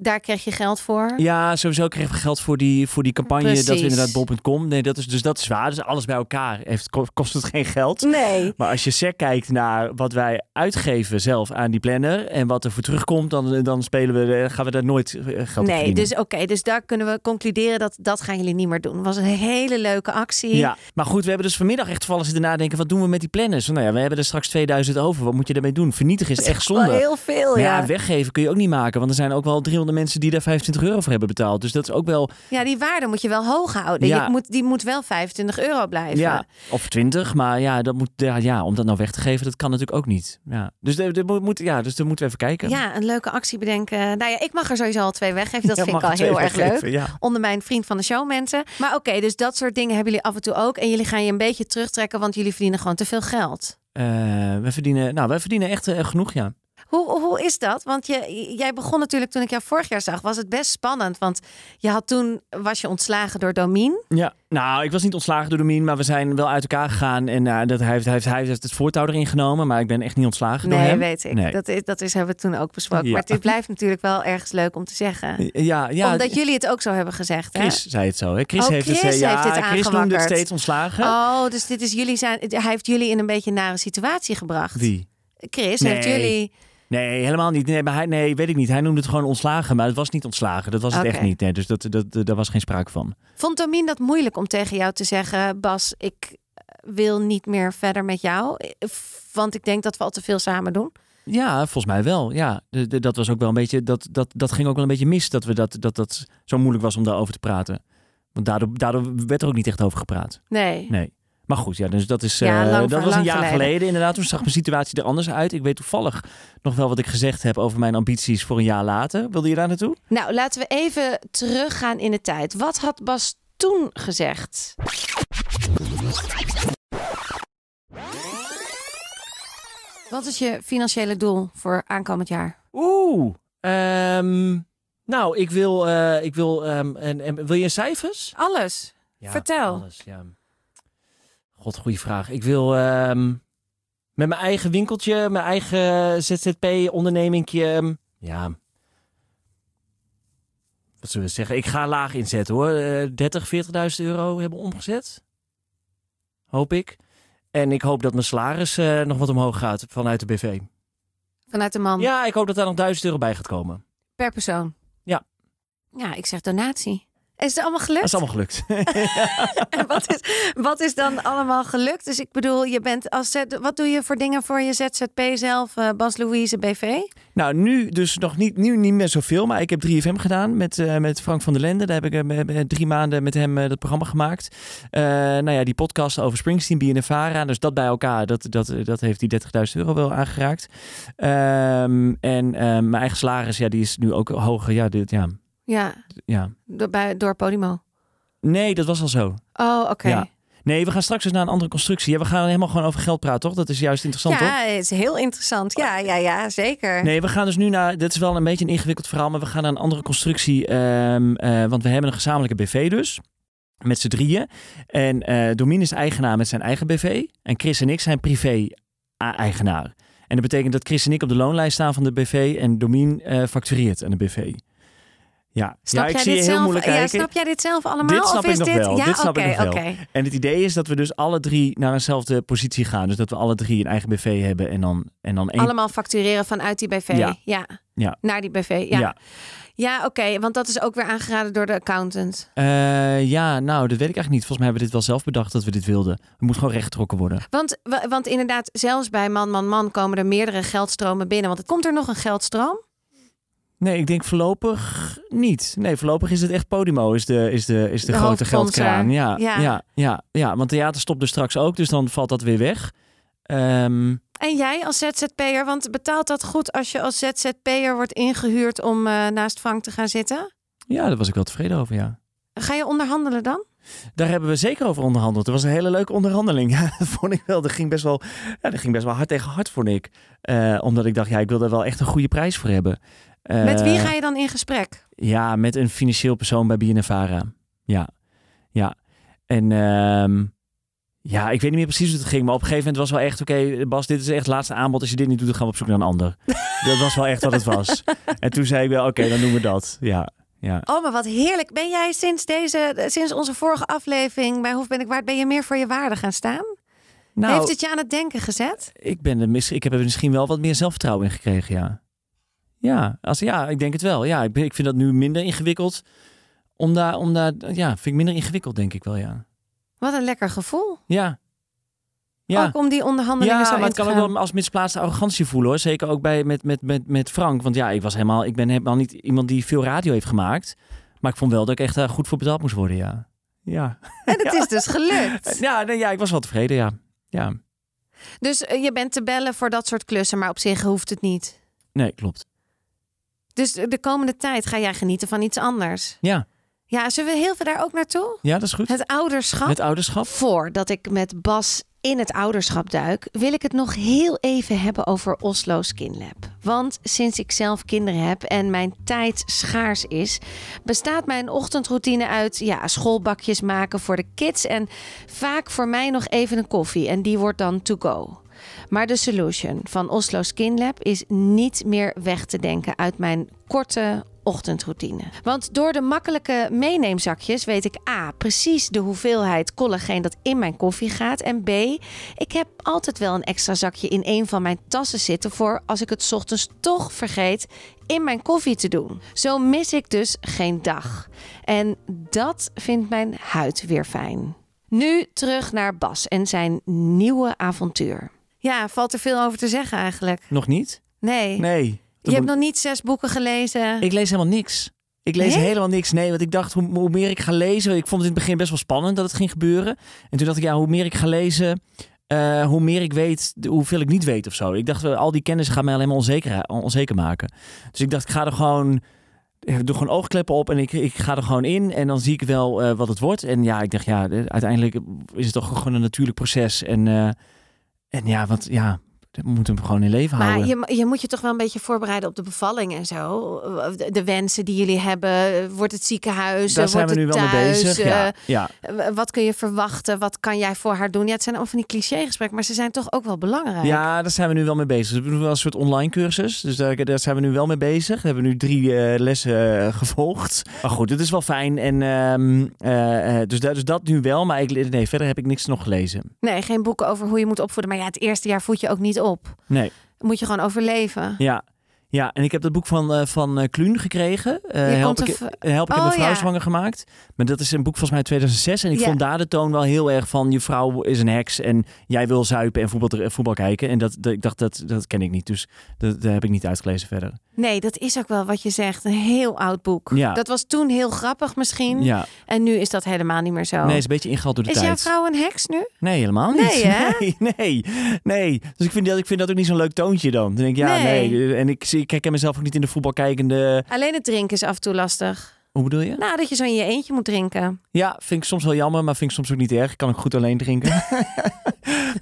Daar kreeg je geld voor.
Ja, sowieso kregen we geld voor die, voor die campagne. Dat we
Precies.
inderdaad bol.com... Nee, dat is, dus dat is waar. Dus alles bij elkaar heeft, kost het geen geld.
Nee.
Maar als je sec kijkt naar wat wij uitgeven zelf aan die planner en wat er voor terugkomt, dan, dan spelen we, eh, gaan we daar nooit eh, geld op
Nee,
verdienen.
dus oké, dus daar kunnen we concluderen dat dat gaan jullie niet meer doen. Het was een hele leuke actie.
Ja, maar goed, we hebben dus vanmiddag echt vallen zitten nadenken, wat doen we met die planners? Nou ja, we hebben er straks 2000 over, wat moet je daarmee doen? Vernietigen is echt zonde.
Wel heel veel,
Maar
ja.
ja, weggeven kun je ook niet maken, want er zijn ook wel 300 mensen die daar 25 euro voor hebben betaald. Dus dat is ook wel,
Ja, die waarde moet je wel hoog houden.
Ja.
Je moet, die moet wel 25 euro blijven.
ja, of 20, maar ja, dat moet, ja, ja, om dat nou weg te geven, dat kan natuurlijk ook niet. Ja, dus daar daar moet- moet, ja, dus daar moeten we even kijken.
Ja, een leuke actie bedenken. Nou ja, ik mag er sowieso al twee weggeven. Dat
<laughs> Ja,
vind ik
mag
al
het
heel erg
even
leuk.
geven, Ja.
Onder mijn vriend van de show mensen. Maar oké, dus dat soort dingen hebben jullie af en toe ook. En jullie gaan je een beetje terugtrekken, want jullie verdienen gewoon te veel geld.
Eh, we verdienen, nou, wij verdienen echt eh, genoeg, ja.
Hoe, hoe is dat? Want je, jij begon natuurlijk toen ik jou vorig jaar zag, was het best spannend. Want je had toen, was je ontslagen door Domien.
Ja, nou, ik was niet ontslagen door Domien, maar we zijn wel uit elkaar gegaan. En eh, dat hij, heeft, hij, heeft, hij heeft het voortouw erin genomen, maar ik ben echt niet ontslagen door
Nee,
hem.
weet ik.
Nee.
Dat, is, dat is, hebben we toen ook besproken.
Ja.
Maar dit blijft natuurlijk wel ergens leuk om te zeggen.
Eh, Ja, ja.
Omdat jullie het ook zo hebben gezegd. Hè?
Chris zei het zo. Hè? Chris
Oh,
heeft het,
Chris
eh, ja,
heeft dit
Chris noemde het
aangewakkerd.
steeds ontslagen.
Oh, dus dit is jullie zijn. Hij heeft jullie in een beetje een nare situatie gebracht.
Wie?
Chris
Nee.
heeft jullie.
Nee, helemaal niet. Nee, maar hij, nee, weet ik niet. Hij noemde het gewoon ontslagen, maar het was niet ontslagen. Dat was het
Oké.
echt niet. Nee, dus dat, dat, dat, daar was geen sprake van.
Vond Domien dat moeilijk om tegen jou te zeggen, Bas, ik eh, wil niet meer verder met jou, want ik denk dat we al te veel samen doen.
Ja, volgens mij wel. Ja, De- de- dat was ook wel een beetje. Dat, dat, dat ging ook wel een beetje mis dat we dat, dat, dat zo moeilijk was om daarover te praten. Want daardoor, daardoor werd er ook niet echt over gepraat.
Nee.
Nee. Maar goed, ja, dus dat is.
Ja,
eh,
lang-
dat was een
lang
jaar geleden.
geleden.
inderdaad. Toen zag mijn situatie er anders uit. Ik weet toevallig nog wel wat ik gezegd heb over mijn ambities voor een jaar later. Wilde je daar naartoe?
Nou, laten we even teruggaan in de tijd. Wat had Bas toen gezegd? Wat is je financiële doel voor aankomend jaar?
Oeh. ehm, nou, ik wil. eh, ik wil ehm, en, en, wil je cijfers?
Alles.
Ja,
Vertel.
Alles, ja. God, goede vraag. Ik wil ehm, met mijn eigen winkeltje, mijn eigen ZZP-ondernemingje. ehm, Ja. Wat zullen we zeggen? Ik ga laag inzetten hoor. Eh 30, 40.000 euro hebben omgezet. Hoop ik. En ik hoop dat mijn salaris eh, nog wat omhoog gaat vanuit de BV.
Vanuit de man
Ja, ik hoop dat daar nog 1000 euro bij gaat komen.
per persoon.
Ja.
Ja, ik zeg donatie. Is het allemaal gelukt?
Dat is allemaal gelukt.
<laughs> En wat, is, wat is dan allemaal gelukt? Dus ik bedoel, je bent als Z- wat doe je voor dingen voor je ZZP zelf, eh, Bas Louise BV?
Nou, nu dus nog niet, nu niet meer zoveel. Maar ik heb 3FM gedaan met, eh, met Frank van der Lende. Daar heb ik eh, me- me- drie maanden met hem eh, dat programma gemaakt. Eh, nou ja, die podcast over Springsteen, BNFara. Dus dat bij elkaar, dat, dat, eh, dat heeft die 30.000 euro wel aangeraakt. Ehm, en ehm, mijn eigen salaris, ja, die is nu ook hoger. Ja, dit, ja,
Ja,
ja.
door, bij, door Podimo.
Nee, dat was al zo.
Oh, oké.
Ja. Nee, we gaan straks eens naar een andere constructie. Ja, we gaan helemaal gewoon over geld praten, toch? Dat is juist interessant, toch?
Ja, het is heel interessant. Ja, ja, ja, zeker.
Nee, we gaan dus nu naar. Dit is wel een beetje een ingewikkeld verhaal, maar we gaan naar een andere constructie. ehm, eh, want we hebben een gezamenlijke BV dus. Met z'n drieën. En eh Domien is eigenaar met zijn eigen BV. En Chris en ik zijn privé-eigenaar. En dat betekent dat Chris en ik op de loonlijst staan van de BV. En Domien eh, factureert aan de BV. Ja,
Snap
ja ik
jij
zie je
dit
heel
zelf?
moeilijk
ja,
kijken.
snap jij dit zelf allemaal?
Dit snap
of
ik
is
nog
dit?
wel.
Ja,
Dit
oké,
snap ik nog wel.
oké.
En het idee is dat we dus alle drie naar eenzelfde positie gaan. Dus dat we alle drie een eigen BV hebben en dan, en dan één.
Allemaal factureren vanuit die BV. Ja.
Ja.
ja.
Ja.
Naar die BV. Ja, ja. oké. Want dat is ook weer aangeraden door de accountant.
Eh, ja, nou, dat weet ik eigenlijk niet. Volgens mij hebben we dit wel zelf bedacht dat we dit wilden. Het moet gewoon rechtgetrokken worden.
Want, wa- want inderdaad, zelfs bij man, man, man komen er meerdere geldstromen binnen. Want het komt er nog een geldstroom.
Nee, ik denk voorlopig niet. Nee, voorlopig is het echt Podimo, is de, is de, is de,
De
grote
hoofdsponsor.
geldkraan. Ja,
Ja.
ja. Ja, ja, want theater stopt dus straks ook, dus dan valt dat weer weg. Ehm,
En jij als ZZP'er, want betaalt dat goed als je als ZZP'er wordt ingehuurd om eh, naast Frank te gaan zitten?
ja, daar was ik wel tevreden over, ja.
Ga je onderhandelen dan?
Daar hebben we zeker over onderhandeld. Het was een hele leuke onderhandeling. <laughs> Ja, dat vond ik wel. Dat ging best wel, ja, dat ging best wel hard tegen hard, vond ik. Eh, omdat ik dacht, ja, ik wil daar wel echt een goede prijs voor hebben. Eh,
Met wie ga je dan in gesprek?
Ja, met een financieel persoon bij BNNVARA. Ja, ja. En ehm, ja, ik weet niet meer precies hoe het ging. Maar op een gegeven moment was wel echt... Oké, Bas, dit is echt het laatste aanbod. Als je dit niet doet, dan gaan we op zoek naar een
<laughs>
ander. dat was wel echt wat het was. En toen zei ik wel, oké, dan doen we dat. Ja, ja.
Oh, maar wat heerlijk. Ben jij sinds, deze, sinds onze vorige aflevering bij Hoef ben ik waard, ben je meer voor je waarde gaan staan?
Nou,
Heeft het je aan het denken gezet?
ik, ben er mis, ik heb er misschien wel wat meer zelfvertrouwen in gekregen, ja. Ja, als, ja ik denk het wel. Ja, ik, ben- ik vind dat nu minder ingewikkeld. Om daar, om daar, ja, vind ik minder ingewikkeld, denk ik wel, ja.
Wat een lekker gevoel.
Ja. Ja.
Ook om die onderhandelingen zo
Ja,
in
maar het
te
kan ook
gaan.
wel als misplaatste arrogantie voelen hoor. Zeker ook bij, met, met, met, met Frank. Want ja, ik, was helemaal, ik ben helemaal niet iemand die veel radio heeft gemaakt. Maar ik vond wel dat ik echt daar goed voor betaald moest worden, ja. Ja,
En het is dus
<laughs>
gelukt.
ja, nee, ja ik was wel tevreden, ja. ja.
Dus eh, je bent te bellen voor dat soort klussen, maar op zich hoeft het niet.
Nee, klopt.
Dus de de komende tijd ga jij genieten van iets anders.
Ja,
Ja, zullen we heel veel daar ook naartoe?
ja dat is goed.
Het ouderschap.
Het ouderschap.
Voordat ik met Bas in het ouderschap duik, wil ik het nog heel even hebben over Oslo Skin Lab. Want sinds ik zelf kinderen heb en mijn tijd schaars is, bestaat mijn ochtendroutine uit ja, schoolbakjes maken voor de kids en vaak voor mij nog even een koffie en die wordt dan to go. Maar de solution van Oslo Skin Lab is niet meer weg te denken uit mijn korte ochtendroutine. Want door de makkelijke meeneemzakjes weet ik A. precies de hoeveelheid collageen dat in mijn koffie gaat. En B. ik heb altijd wel een extra zakje in een van mijn tassen zitten voor als ik het 's ochtends toch vergeet in mijn koffie te doen. Zo mis ik dus geen dag. En dat vindt mijn huid weer fijn. Nu terug naar Bas en zijn nieuwe avontuur. Ja, valt er veel over te zeggen eigenlijk.
Nog niet?
Nee.
Nee.
Je hebt nog niet zes boeken gelezen.
Ik lees helemaal niks. Ik lees
Nee?
helemaal niks. Nee, want ik dacht, hoe, hoe meer ik ga lezen... Ik vond het in het begin best wel spannend dat het ging gebeuren. En toen dacht ik, ja, hoe meer ik ga lezen... eh, hoe meer ik weet, de- hoeveel ik niet weet of zo. Ik dacht, eh, al die kennis gaat mij alleen maar onzeker, eh, onzeker maken. Dus ik dacht, ik ga er gewoon... Ik doe gewoon oogkleppen op en ik, ik ga er gewoon in. En dan zie ik wel eh, wat het wordt. En ja, ik dacht, ja, eh, uiteindelijk is het toch gewoon een natuurlijk proces. En, eh, en ja, wat, ja, we moeten hem gewoon in leven
Maar
houden.
je, je moet je toch wel een beetje voorbereiden op de bevalling en zo. De, de wensen die jullie hebben. Wordt het ziekenhuis?
Daar
dus, eh, wordt
zijn we
het
nu wel mee
thuis,
bezig. Ja, ja.
eh, w- Wat kun je verwachten? Wat kan jij voor haar doen? Ja, het zijn allemaal van die clichégesprekken, maar ze zijn toch ook wel belangrijk.
Ja, daar zijn we nu wel mee bezig. Dus we doen wel een soort online cursus. Dus daar, daar zijn we nu wel mee bezig. We hebben nu drie eh, lessen eh, gevolgd. Maar goed, het is wel fijn. En, ehm, eh, eh, dus, dat- dus dat nu wel. Maar ik, nee, verder heb ik niks nog gelezen.
Nee, geen boeken over hoe je moet opvoeden. Maar ja, het eerste jaar voed je ook niet op.
Nee.
Moet je gewoon overleven.
Ja. Ja, en ik heb dat boek van, eh, van eh, Kluun gekregen. Eh,
Je
help,
komt
ik,
een
help ik heb
Oh,
mijn vrouw
ja.
zwanger gemaakt. Maar dat is een boek volgens mij uit 2006. En ik
Ja.
vond daar de toon wel heel erg van... je vrouw is een heks en jij wil zuipen en voetbal, eh, voetbal kijken. En dat, dat, ik dacht, dat, dat ken ik niet. Dus dat, dat heb ik niet uitgelezen verder.
Nee, dat is ook wel wat je zegt. Een heel oud boek.
Ja.
Dat was toen heel grappig misschien.
Ja.
En nu is dat helemaal niet meer zo.
Nee, is een beetje ingehaald door de
is jouw
tijd.
vrouw een heks nu?
Nee, helemaal niet.
Nee, hè?
<laughs> nee, nee, nee. Dus ik vind, dat, ik vind dat ook niet zo'n leuk toontje dan. Dan denk ik, ja,
Nee.
nee. En ik, zie- ik kijk mezelf ook niet in de voetbal kijkende...
Alleen het drinken is af en toe lastig.
Hoe bedoel je?
Nou, dat je zo in je eentje moet drinken.
Ja, vind ik soms wel jammer, maar vind ik soms ook niet erg. Kan ik goed alleen <laughs> drinken.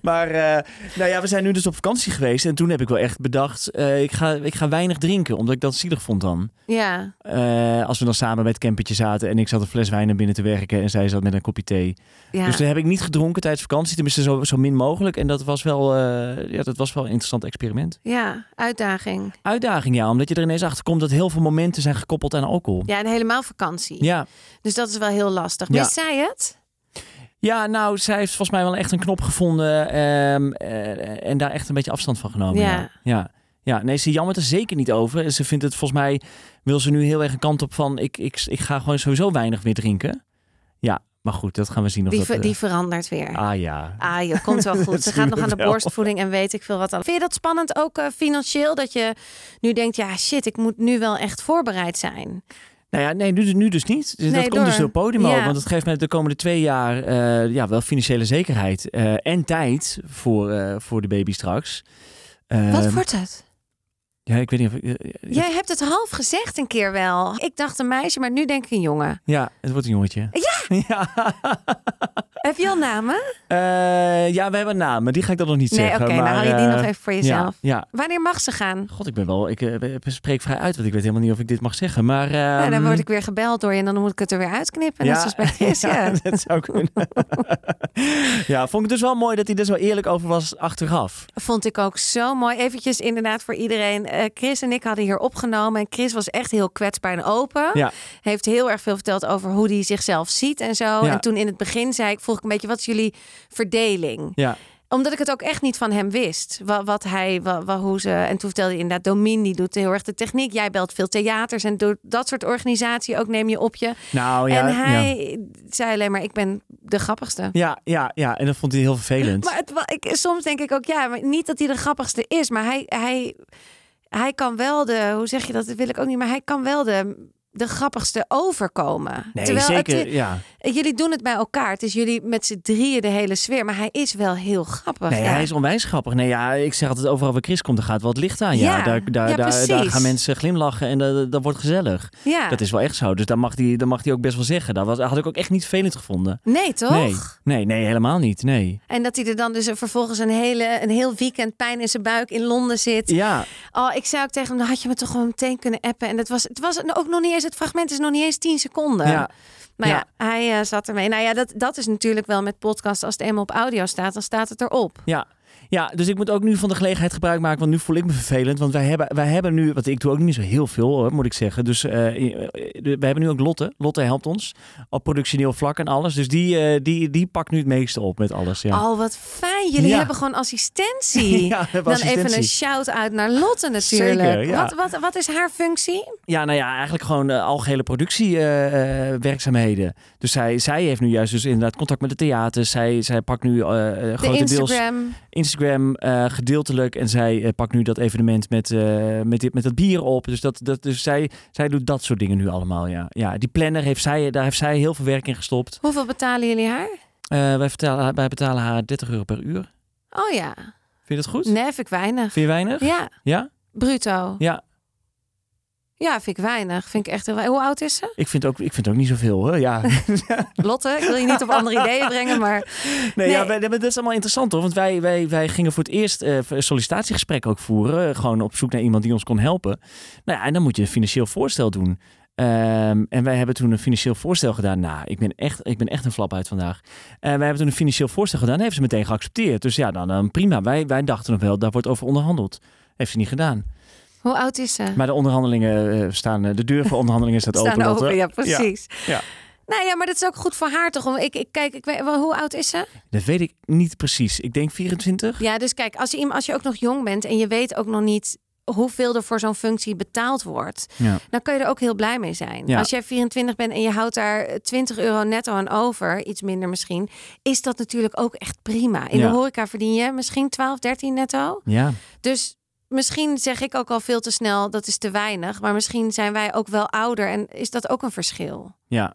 maar eh, nou ja, we zijn nu dus op vakantie geweest. En toen heb ik wel echt bedacht, eh, ik, ga, ik ga weinig drinken. Omdat ik dat zielig vond dan.
Ja.
Eh, als we dan samen bij het campertje zaten en ik zat een fles wijn naar binnen te werken. En zij zat met een kopje thee.
ja.
Dus toen heb ik niet gedronken tijdens vakantie. Tenminste, zo, zo min mogelijk. En dat was, wel, eh, ja, dat was wel een interessant experiment.
Ja, uitdaging.
Uitdaging, ja. Omdat je er ineens achter komt dat heel veel momenten zijn gekoppeld aan alcohol.
Ja, en helemaal vakantie.
Ja.
Dus dat is wel heel lastig.
Ja.
Wist zij het?
Ja, nou, zij heeft volgens mij wel echt een knop gevonden ehm, eh, en daar echt een beetje afstand van genomen.
Ja.
Ja. ja. Ja, nee, ze jammert er zeker niet over. En Ze vindt het volgens mij, wil ze nu heel erg een kant op van, ik, ik, ik ga gewoon sowieso weinig meer drinken. Ja, maar goed, dat gaan we zien. Of
Die,
dat,
ver-
eh,
die verandert weer. Ah.
Ah ja.
joh, komt
<laughs>
wel goed.
Dat
Ze
zien
gaat
we
nog aan de
wel.
borstvoeding en weet ik veel wat. Al. Vind je dat spannend ook eh, financieel? Dat je nu denkt, ja shit, ik moet nu wel echt voorbereid zijn.
Nou ja, nee, nu, nu dus niet. Dus
Nee,
dat
door.
komt dus door Podimo.
Ja.
Want het geeft mij de komende twee jaar eh, ja, wel financiële zekerheid. eh, en tijd voor, eh, voor de baby straks.
wat
Ehm,
wordt het?
Ja, ik weet niet of... ik- eh,
Jij hebt het half gezegd een keer wel. Ik dacht een meisje, maar nu denk ik een jongen.
Ja, het wordt een jongetje. Ja! Ja,
Heb je al namen?
Eh, ja we hebben een naam, maar die ga ik dan nog niet
Nee, oké,
zeggen.
dan
maar,
hou je die
eh,
nog even voor jezelf.
Ja, ja.
Wanneer mag ze gaan?
God, ik ben wel... Ik eh, spreek vrij uit, want ik weet helemaal niet of ik dit mag zeggen. Maar...
nou, dan
ehm,
word ik weer gebeld door je en dan moet ik het er weer uitknippen.
ja,
Net zoals
<laughs>
bij Chris, ja.
ja, dat zou kunnen. <laughs> ja, vond ik dus wel mooi dat hij er zo eerlijk over was achteraf.
Vond ik ook zo mooi. Eventjes inderdaad voor iedereen. Eh, Chris en ik hadden hier opgenomen. En Chris was echt heel kwetsbaar en open.
Ja.
Heeft heel erg veel verteld over hoe hij zichzelf ziet en zo. En toen in het begin zei ik, vroeg ik een beetje, wat is jullie verdeling?
Ja,
Omdat ik het ook echt niet van hem wist. Wat, wat hij, wa- wa- hoe ze... En toen vertelde hij inderdaad, Domin die doet heel erg de techniek. Jij belt veel theaters en doet dat soort organisatie ook neem je op je.
nou ja.
en
Ja.
hij zei alleen maar, ik ben de grappigste.
Ja, ja, ja, en dat vond hij heel vervelend.
Maar het, wa- ik, soms denk ik ook, ja, maar niet dat hij de grappigste is, maar hij, hij, hij kan wel de, hoe zeg je dat, dat wil ik ook niet, maar hij kan wel de, de grappigste overkomen.
nee,
Terwijl het- eh,
zeker. ja.
jullie doen het bij elkaar, het is jullie met z'n drieën de hele sfeer, maar hij is wel heel grappig.
Nee,
ja.
hij is onwijs grappig. Nee, ja, ik zeg altijd overal waar Chris komt, er gaat wat licht aan. Ja,
Ja,
daar, daar,
ja,
daar, daar
precies.
gaan mensen glimlachen en dat, dat wordt gezellig.
Ja.
Dat is wel echt zo. Dus dat mag die, dat mag die ook best wel zeggen. Dat was, had ik ook echt niet vervelend gevonden.
Nee, toch?
Nee, nee, nee, helemaal niet. Nee.
En dat hij er dan dus vervolgens een, hele, een heel weekend pijn in zijn buik in Londen zit.
Ja,
Oh, ik zei ook tegen hem, dan had je me toch gewoon meteen kunnen appen. En dat was, het was ook nog niet eens, het fragment is nog niet eens 10 seconden.
ja,
Maar ja,
Ja.
hij eh, zat ermee. Nou ja, dat, dat is natuurlijk wel met podcast. Als het eenmaal op audio staat, dan staat het erop.
ja. Ja, dus ik moet ook nu van de gelegenheid gebruik maken, want nu voel ik me vervelend. Want wij hebben, wij hebben nu, want ik doe ook niet zo heel veel, hoor, moet ik zeggen. Dus eh, we hebben nu ook Lotte. Lotte helpt ons op productioneel vlak en alles. Dus die, eh, die, die pakt nu het meeste op met alles. Ja.
Al Oh, wat fijn. Jullie
Ja.
hebben gewoon assistentie.
<laughs> Ja, we hebben
dan even
assistentie.
een shout-out naar Lotte natuurlijk.
Zeker, ja.
wat, wat, wat is haar functie?
Ja, nou ja, eigenlijk gewoon eh, algehele productiewerkzaamheden. dus zij, zij heeft nu juist dus inderdaad contact met de theaters. Zij, zij pakt nu eh eh,
De
grotendeels
Instagram.
Instagram eh, gedeeltelijk. En zij eh, pakt nu dat evenement met, eh, met, dit, met dat bier op. Dus, dat, dat, dus zij, zij doet dat soort dingen nu allemaal, ja. ja die planner, heeft zij, daar heeft zij heel veel werk in gestopt.
Hoeveel betalen jullie haar?
Eh, wij, vertalen, wij betalen haar 30 euro per uur.
Oh ja.
Vind je dat goed?
Nee, vind ik weinig.
Vind je weinig?
Ja,
Ja?
bruto.
Ja.
Ja, vind ik weinig. Vind ik echt heel weinig. Hoe oud is ze?
Ik vind ook, ik vind ook niet zoveel, hoor. Ja.
Lotte, ik wil je niet op <laughs> andere ideeën brengen, maar...
Nee,
Nee.
Ja, wij- dat is allemaal interessant hoor. Want wij, wij, wij gingen voor het eerst eh, een sollicitatiegesprek ook voeren. eh, Gewoon op zoek naar iemand die ons kon helpen. Nou ja, en dan moet je een financieel voorstel doen. Ehm, en wij hebben toen een financieel voorstel gedaan. Nou, ik ben echt, ik ben echt een flap uit vandaag. En wij hebben toen een financieel voorstel gedaan. Dat heeft ze meteen geaccepteerd. Dus ja, dan eh, prima. Wij, wij dachten nog wel, daar wordt over onderhandeld. Heeft ze niet gedaan.
Hoe oud is ze?
Maar de onderhandelingen eh, staan, eh, de deur voor onderhandelingen staat open.
Staan
Lotte.
open, ja, precies.
ja.
Nou ja, maar dat is ook goed voor haar toch? Want Ik, ik kijk, ik weet, wel, hoe oud is ze?
Dat weet ik niet precies. Ik denk 24.
Ja, dus kijk, als je, iem- als je ook nog jong bent en je weet ook nog niet hoeveel er voor zo'n functie betaald wordt,
Ja.
dan kan je er ook heel blij mee zijn.
Ja.
Als jij 24 bent en je houdt daar eh, 20 euro netto aan over, iets minder misschien, is dat natuurlijk ook echt prima. In
Ja.
de horeca verdien je misschien 12, 13 netto.
Ja.
Dus misschien zeg ik ook al veel te snel, dat is te weinig. Maar misschien zijn wij ook wel ouder en is dat ook een verschil.
Ja.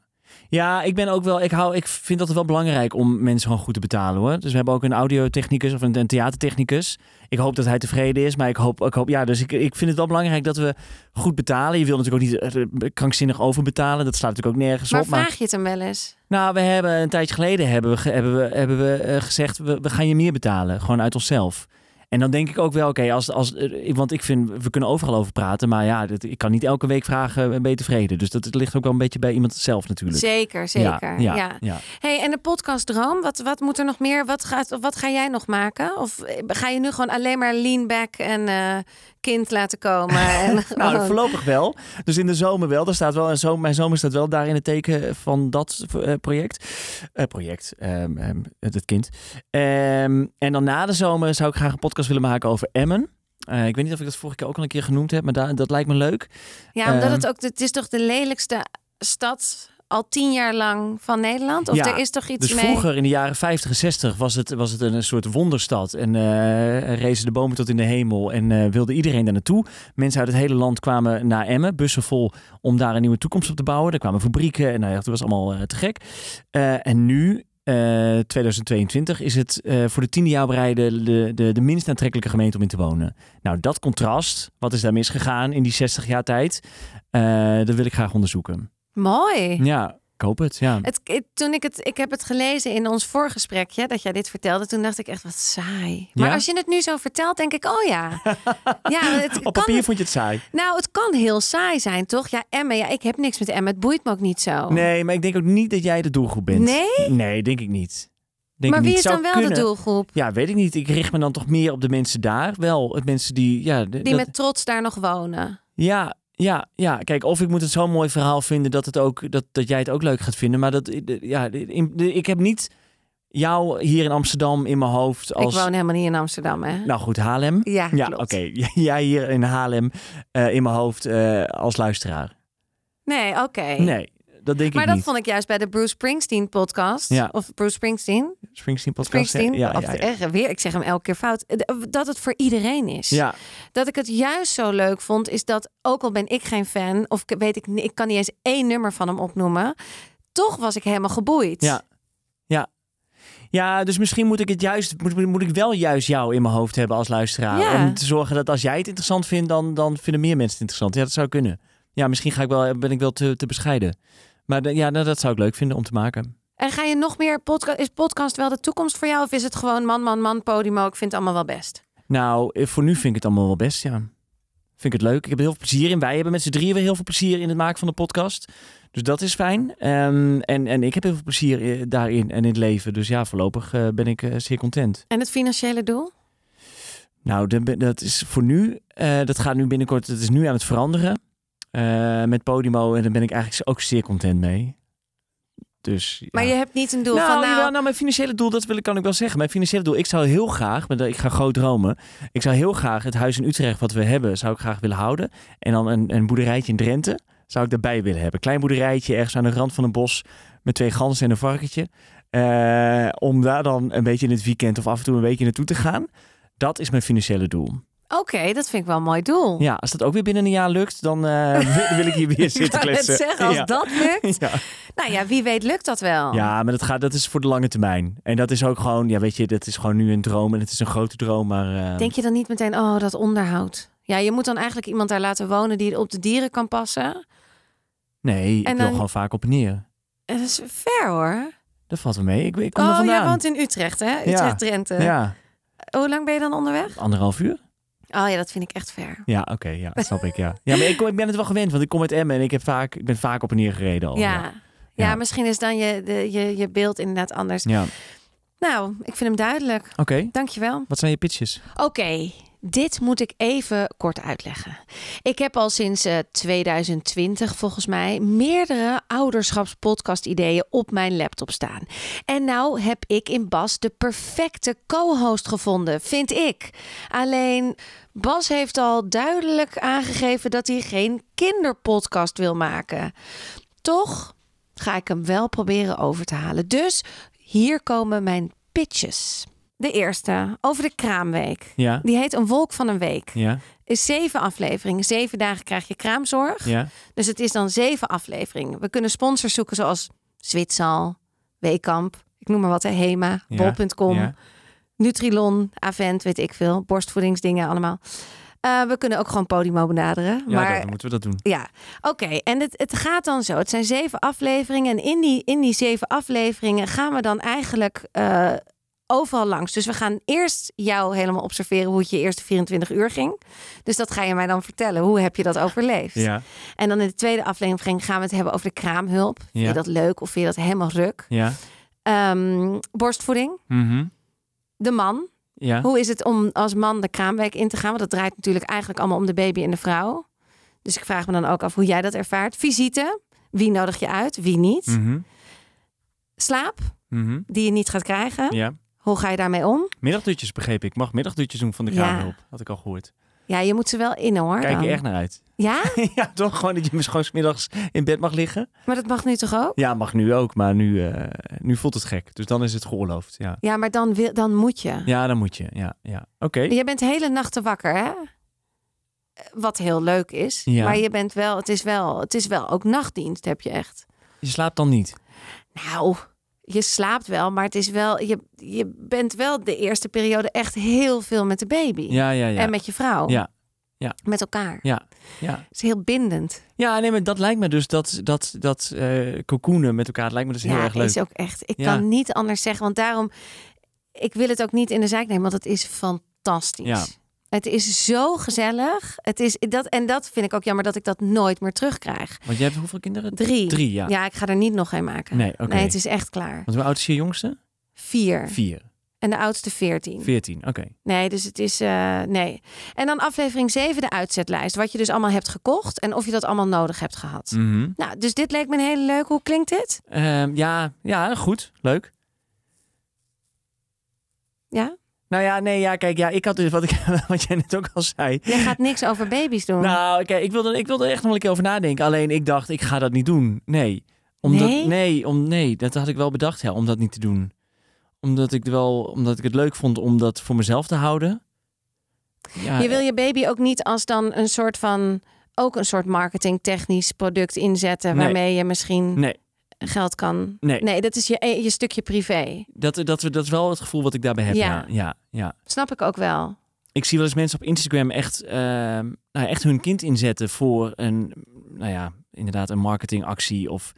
Ja, ik ben ook wel. Ik, hou, ik vind dat wel belangrijk om mensen gewoon goed te betalen hoor. Dus we hebben ook een audiotechnicus of een, een theatertechnicus. Ik hoop dat hij tevreden is. Maar ik hoop. Ik hoop ja, dus ik, ik vind het wel belangrijk dat we goed betalen. Je wil natuurlijk ook niet eh, krankzinnig overbetalen. Dat slaat natuurlijk ook nergens
Maar
op. Maar
vraag je het hem wel eens?
nou, we hebben een tijdje geleden hebben we, ge- hebben we, hebben we eh, gezegd, we, we gaan je meer betalen. Gewoon uit onszelf. En dan denk ik ook wel, oké, als, als, eh, ik- want ik vind, we kunnen overal over praten. Maar ja, dit- ik kan niet elke week vragen, eh, ben je tevreden? Dus dat ligt ook wel een beetje bij iemand zelf natuurlijk.
Zeker, zeker. Ja,
Ja, ja, ja.
Hey, en de podcast Droom, wat, wat moet er nog meer? Wat, gaat, wat ga jij nog maken? Of eh, ga je nu gewoon alleen maar lean back en eh, kind laten komen?
<laughs>
En
Nou,
gewoon-
voorlopig wel. Dus in de zomer wel. Daar staat wel een zomer, mijn zomer staat wel daar in het teken van dat eh, project. Eh, project, ehm, ehm, het het kind. Ehm, en dan na de zomer zou ik graag een podcast willen maken over Emmen. Eh, ik weet niet of ik dat vorige keer ook al een keer genoemd heb, maar daar, dat lijkt me leuk.
ja, omdat
ehm,
het ook, het is toch de lelijkste stad al tien jaar lang van Nederland? Of
Ja,
er is toch iets
dus
mee?
vroeger in de jaren 50 en 60 was het, was het een, een soort wonderstad. En eh, er rezen de bomen tot in de hemel en eh, wilde iedereen daar naartoe. Mensen uit het hele land kwamen naar Emmen, bussen vol om daar een nieuwe toekomst op te bouwen. Er kwamen fabrieken en nou ja, dat was allemaal eh, te gek. Eh, en nu, eh, 2022, is het eh, voor de tiende jaar op rij de, de, de, de minst aantrekkelijke gemeente om in te wonen. Nou, dat contrast, wat is daar misgegaan in die 60 jaar tijd, Eh, dat wil ik graag onderzoeken.
Mooi.
Ja, ik hoop het, ja.
Het, het- toen ik het, ik heb het gelezen in ons voorgesprekje dat jij dit vertelde, toen dacht ik echt wat saai. Maar
Ja?
als je het nu zo vertelt, denk ik, oh
<laughs>
ja, ja, het
Op
kan,
papier vond je het saai.
nou, het kan heel saai zijn, toch? Ja, Emma, ja, ik heb niks met Emma, het boeit me ook niet zo.
Nee, maar ik denk ook niet dat jij de doelgroep bent.
Oh. Nee?
Nee, denk ik niet. Denk
maar
ik
wie
niet.
is
Zou
dan wel
kunnen.
de doelgroep
Ja, weet ik niet. Ik richt me dan toch meer op de mensen daar. Wel, het mensen die... Ja, de-
die
dat-
met trots daar nog wonen?
ja, ja, ja, kijk, of ik moet het zo'n mooi verhaal vinden dat, het ook, dat, dat jij het ook leuk gaat vinden. Maar dat, de- ja, de- in- de- ik heb niet jou hier in Amsterdam in mijn hoofd als...
Ik woon helemaal niet in Amsterdam, hè?
Nou goed, Haarlem.
ja,
Ja, oké. <laughs>
klopt.
Jij hier in Haarlem eh, in mijn hoofd eh, als luisteraar.
Nee, oké.
Nee, dat denk
Maar
ik
dat
niet.
vond ik juist bij de Bruce Springsteen podcast.
Ja.
Of Bruce Springsteen.
Springsteen podcast. hè?
Springsteen.
Ja,
of
ja,
de-
ja.
eh, weer, ik zeg hem elke keer fout. Eh, Dat het voor iedereen is.
ja.
Dat ik het juist zo leuk vond, is dat ook al ben ik geen fan, of ik weet ik, ni- ik kan niet eens één nummer van hem opnoemen, toch was ik helemaal geboeid.
Ja. Ja. Ja, dus misschien moet ik het juist, moet, moet ik wel juist jou in mijn hoofd hebben als luisteraar.
Ja.
Om te zorgen dat als jij het interessant vindt, dan, dan vinden meer mensen het interessant. Ja, dat zou kunnen. Ja, misschien ga ik wel, ben ik wel te, te bescheiden. Maar de- ja, nou, dat zou ik leuk vinden om te maken.
En ga je nog meer podcast? Is podcast wel de toekomst voor jou? Of is het gewoon man, man, man, podimo? Ik vind het allemaal wel best.
Nou, eh, voor nu vind ik het allemaal wel best, ja. Vind ik het leuk. Ik heb er heel veel plezier in. Wij hebben met z'n drieën weer heel veel plezier in het maken van de podcast. Dus dat is fijn. Ehm, en, en ik heb heel veel plezier eh, daarin en in het leven. Dus ja, voorlopig eh, ben ik eh, zeer content.
En het financiële doel?
Nou, de- dat is voor nu. eh, dat gaat nu binnenkort. Het is nu aan het veranderen. eh, met Podimo. En daar ben ik eigenlijk ook zeer content mee. Dus. ja.
Maar je hebt niet een doel
nou,
van nou.
jawel, nou, mijn financiële doel, dat wil ik, kan ik wel zeggen. Mijn financiële doel, ik zou heel graag, maar ik ga groot dromen. Ik zou heel graag het huis in Utrecht wat we hebben, zou ik graag willen houden. En dan een, een boerderijtje in Drenthe zou ik daarbij willen hebben. Klein boerderijtje ergens aan de rand van een bos met twee ganzen en een varkentje. Eh, om daar dan een beetje in het weekend of af en toe een weekje naartoe te gaan. Dat is mijn financiële doel.
Oké, dat vind ik wel een mooi doel.
Ja, als dat ook weer binnen een jaar lukt, dan eh, <laughs> wil, wil ik hier weer
Ik
zitten
wou net
kletsen.
zeggen, als
ja.
dat lukt.
<laughs> Ja.
Nou ja, wie weet lukt dat wel.
ja, maar dat, gaat, dat is voor de lange termijn. En dat is ook gewoon, ja, weet je, dat is gewoon nu een droom en het is een grote droom, maar eh,
Denk je dan niet meteen, oh, dat onderhoud. Ja, je moet dan eigenlijk iemand daar laten wonen die op de dieren kan passen.
nee, ik
En
wil
dan-
gewoon vaak op en neer.
En dat is ver hoor.
Dat valt wel mee. Ik, ik kom er
Oh, eh, jij
vandaan.
woont in Utrecht, hè? Utrecht-Drenthe.
ja,
Hoe lang ben je dan onderweg?
anderhalf uur.
Oh ja, dat vind ik echt ver.
Ja, oké, ja, dat snap ik,
<laughs>
ja. Ja, maar ik, kom, ik ben het wel gewend, want ik kom uit Emmen en ik, heb vaak, ik ben vaak op en neer gereden al.
ja. Ja.
Oh, Ja.
misschien is dan je, de, je, je beeld inderdaad anders.
Ja.
Nou, ik vind hem duidelijk.
Oké,
Dankjewel.
wat zijn je pitches?
Oké, dit moet ik even kort uitleggen. Ik heb al sinds eh, 2020 volgens mij meerdere ouderschapspodcast-ideeën op mijn laptop staan. En nou heb ik in Bas de perfecte co-host gevonden, vind ik. Alleen Bas heeft al duidelijk aangegeven dat hij geen kinderpodcast wil maken. Toch ga ik hem wel proberen over te halen. Dus hier komen mijn pitches. De eerste, over de kraamweek.
Ja,
Die heet Een Wolk van een Week.
ja,
Is zeven afleveringen. Zeven dagen krijg je kraamzorg.
ja.
Dus het is dan zeven afleveringen. We kunnen sponsors zoeken zoals Zwitsal, Weekamp, ik noem maar wat, hè, Hema,
Ja,
Bol.com,
ja.
Nutrilon, Avent, weet ik veel, borstvoedingsdingen allemaal. Eh, we kunnen ook gewoon Podimo benaderen.
Ja,
maar
dan moeten we dat doen.
ja, oké. En het, het gaat dan zo. Het zijn zeven afleveringen. En in die, in die zeven afleveringen gaan we dan eigenlijk eh, overal langs. Dus we gaan eerst jou helemaal observeren hoe het je eerste 24 uur ging. Dus dat ga je mij dan vertellen. Hoe heb je dat overleefd?
Ja,
En dan in de tweede aflevering gaan we het hebben over de kraamhulp. Vind
Ja.
je dat leuk of vind je dat helemaal ruk?
ja.
Ehm, borstvoeding,
mhm,
de man.
Ja,
Hoe is het om als man de kraamweek in te gaan? Want dat draait natuurlijk eigenlijk allemaal om de baby en de vrouw. Dus ik vraag me dan ook af hoe jij dat ervaart. Visite. Wie nodig je uit? Wie niet?
mhm,
Slaap,
mhm,
die je niet gaat krijgen.
ja.
Hoe ga je daarmee om?
Middagdutjes begreep ik. Mag middagdutjes doen van de
Ja.
kraamhulp. Had ik al gehoord.
Ja, je moet ze wel in hoor.
Kijk
dan.
je echt naar <laughs> uit.
Ja,
ja, toch? Gewoon dat je misschien gewoon 's middags in bed mag liggen.
maar dat mag nu toch ook?
Ja, mag nu ook, maar nu, eh, nu voelt het gek. Dus dan is het geoorloofd, ja.
Ja, maar dan, wil, dan moet je.
Ja, dan moet je. Ja, ja. Oké.
Je bent hele nachten wakker, hè? Eh, Wat heel leuk is.
Ja.
Maar je bent wel het, is wel, het is wel ook nachtdienst, heb je echt.
Je slaapt dan niet.
Nou, je slaapt wel, maar het is wel, je, je bent wel de eerste periode echt heel veel met de baby.
Ja, ja, ja.
En met je vrouw.
Ja. Ja.
Met elkaar.
Ja, ja.
Het is heel bindend.
Ja, nee, maar dat lijkt me dus dat, dat, dat eh, cocoonen met elkaar, dat lijkt me dus heel
ja,
erg leuk.
is ook echt. Ik
Ja.
kan niet anders zeggen, want daarom, ik wil het ook niet in de zaak nemen, want het is fantastisch.
Ja.
Het is zo gezellig. Het is dat, en dat vind ik ook jammer dat ik dat nooit meer terugkrijg.
Want jij hebt hoeveel kinderen?
Drie.
Drie, ja.
Ja, ik ga er niet nog een maken.
Nee, oké.
Nee, het is echt klaar.
Want hoe oud is je jongste?
Vier.
Vier.
En de oudste veertien.
Veertien, oké.
Nee, dus het is. eh, nee. En dan aflevering 7, de uitzetlijst. Wat je dus allemaal hebt gekocht en of je dat allemaal nodig hebt gehad.
Mhm.
Nou, dus dit leek me een hele leuke. Hoe klinkt dit?
Ehm, ja, ja, goed. Leuk.
Ja?
Nou ja, nee, ja, kijk, ja, ik had dus wat, ik, <laughs> wat jij net ook al zei.
Jij gaat niks over baby's doen.
Nou, kijk, ik wilde, ik wilde er echt nog wel een keer over nadenken. Alleen ik dacht, ik ga dat niet doen. Nee. Omdat,
Nee?
om, nee, dat had ik wel bedacht, ja, om dat niet te doen. Omdat ik, wel, omdat ik het leuk vond om dat voor mezelf te houden. Ja,
je wil je baby ook niet als dan een soort van. ook een soort marketingtechnisch product inzetten.
Nee.
waarmee je misschien
Nee.
geld kan.
Nee.
dat is je, je stukje privé.
Dat, dat, dat is wel het gevoel wat ik daarbij heb.
Ja.
Ja. Ja, ja,
Snap ik ook wel.
Ik zie wel eens mensen op Instagram echt, ehm, nou, echt hun kind inzetten voor een, nou ja, inderdaad, een marketingactie of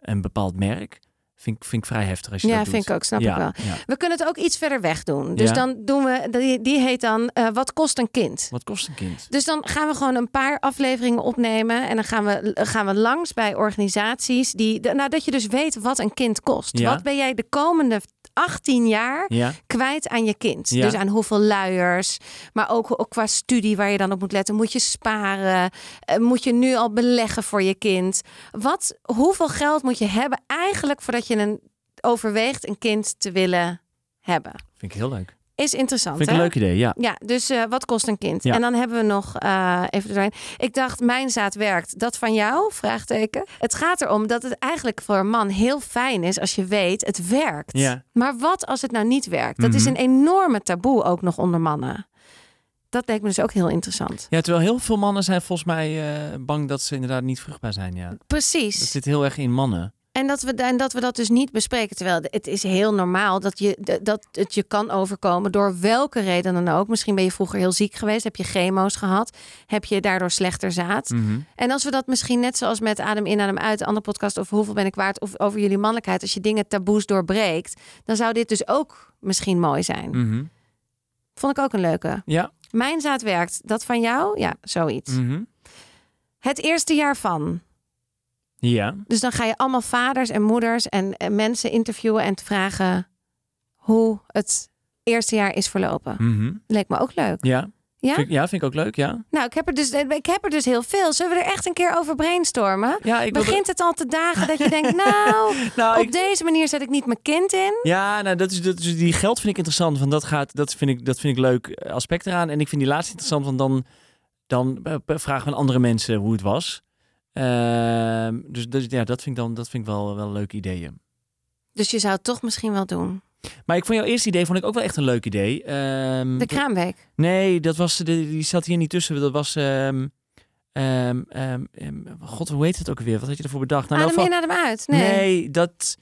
een bepaald merk. Vind, ik- vind ik vrij heftig als je
Ja,
dat doet.
vind ik ook, snap ik wel.
Ja.
We kunnen het ook iets verder weg doen. Dus
Ja.
dan doen we. Die, die heet dan. eh, wat kost een kind?
Wat kost een kind?
Dus dan gaan we gewoon een paar afleveringen opnemen. En dan gaan we, gaan we langs bij organisaties. Die, de- nou, dat je dus weet wat een kind kost.
Ja.
Wat ben jij de komende 18 jaar
Ja.
kwijt aan je kind?
Ja.
Dus aan hoeveel luiers. Maar ook, ook qua studie waar je dan op moet letten. Moet je sparen? Eh, Moet je nu al beleggen voor je kind? Wat, hoeveel geld moet je hebben eigenlijk voordat je een, overweegt een kind te willen hebben?
Vind ik heel leuk.
Is interessant.
Vind ik
hè?
een leuk idee, ja.
Ja, dus eh, wat kost een kind?
Ja.
En dan hebben we nog eh, even doorheen. Ik dacht, mijn zaad werkt. Dat van jou? Vraagteken. Het gaat erom dat het eigenlijk voor een man heel fijn is als je weet het werkt.
Ja.
Maar wat als het nou niet werkt? Dat is
Mhm.
een enorme taboe ook nog onder mannen. Dat leek me dus ook heel interessant.
Ja, terwijl heel veel mannen zijn volgens mij eh, bang dat ze inderdaad niet vruchtbaar zijn, ja. Dat
Precies.
zit heel erg in mannen.
En dat, we, en dat we dat dus niet bespreken. Terwijl het is heel normaal dat, je, dat het je kan overkomen door welke reden dan ook. Misschien ben je vroeger heel ziek geweest, heb je chemo's gehad, heb je daardoor slechter zaad.
Mhm,
En als we dat misschien net zoals met Adem in, Adem uit, de andere podcast of Hoeveel ben ik waard, of over jullie mannelijkheid, als je dingen taboes doorbreekt, dan zou dit dus ook misschien mooi zijn.
Mhm.
Vond ik ook een leuke.
Ja.
Mijn zaad werkt, dat van jou? Ja, zoiets.
Mhm.
Het eerste jaar van.
Ja.
Dus dan ga je allemaal vaders en moeders en, en mensen interviewen en vragen hoe het eerste jaar is verlopen.
Mhm.
Leek me ook leuk.
Ja.
Ja?
Vind, ik- ja, vind ik ook leuk, ja.
Nou, ik heb, er dus, ik heb er dus heel veel. Zullen we er echt een keer over brainstormen?
Ja, ik wilde-
Begint het al te dagen dat je
<laughs>
denkt, nou,
Nou,
op
ik-
deze manier zet ik niet mijn kind in.
Ja, nou, dat is, dat is, die geld vind ik interessant. Want dat, gaat, dat, vind ik, dat vind ik leuk eh, aspect eraan. En ik vind die laatste interessant, want dan, dan eh, vragen we aan andere mensen hoe het was. Ehm, dus dus ja, dat vind ik, dan, dat vind ik wel, wel leuke ideeën.
Dus je zou het toch misschien wel doen.
Maar ik vond jouw eerste idee vond ik ook wel echt een leuk idee. Ehm,
De kraamweek.
Nee, dat was, de- die zat hier niet tussen. Dat was ehm, ehm, ehm, ehm, God, hoe heet het ook weer? Wat had je ervoor bedacht? Nou, in
adem
elk
in,
geval-
adem uit. Nee.
nee, dat...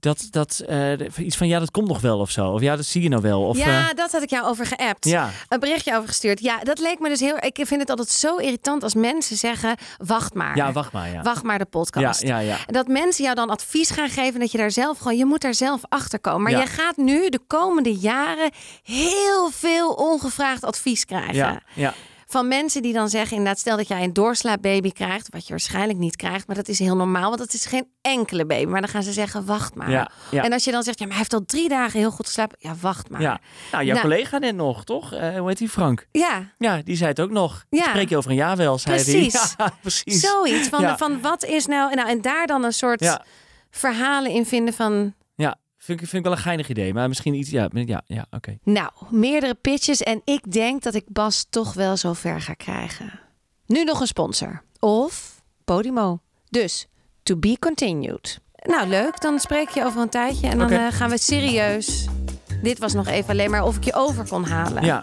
Dat, dat eh, iets van ja, dat komt nog wel of zo. Of ja, dat zie je nou wel. Of,
ja,
eh,
dat had ik jou over geappt.
ja.
Een berichtje over gestuurd. Ja, dat leek me dus heel... Ik vind het altijd zo irritant als mensen zeggen... wacht maar.
ja, wacht maar. Ja.
Wacht maar de
ja,
podcast.
ja, ja.
En dat mensen jou dan advies gaan geven dat je daar zelf gewoon, je moet daar zelf achter komen. Maar
Ja.
je gaat nu de komende jaren heel veel ongevraagd advies krijgen.
Ja, ja,
Van mensen die dan zeggen, inderdaad, stel dat jij een doorslaapbaby krijgt, wat je waarschijnlijk niet krijgt, maar dat is heel normaal, want dat is geen enkele baby. Maar dan gaan ze zeggen, wacht maar.
ja, ja.
En als je dan zegt, ja, maar hij heeft al drie dagen heel goed geslapen, ja, wacht maar.
ja. Nou, jouw
Nou.
collega net nog, toch? Eh, hoe heet die? Frank.
Ja,
Ja, die zei het ook nog.
Ja.
Spreek je over een jaar wel, zei
Precies.
hij. <laughs> Ja, precies.
zoiets van,
Ja.
van wat is nou, nou, en daar dan een soort
Ja,
verhalen in vinden van,
ja. Vind, ik, vind ik wel een geinig idee. Maar misschien iets... Ja, ja, ja oké.
Nou, meerdere pitches en ik denk dat ik Bas toch wel zo ver ga krijgen. Nu nog een sponsor. Of Podimo. Dus, to be continued. Nou, leuk. Dan spreek je over een tijdje en dan
Oké.
eh, gaan we serieus... Dit was nog even alleen maar of ik je over kon halen.
Ja.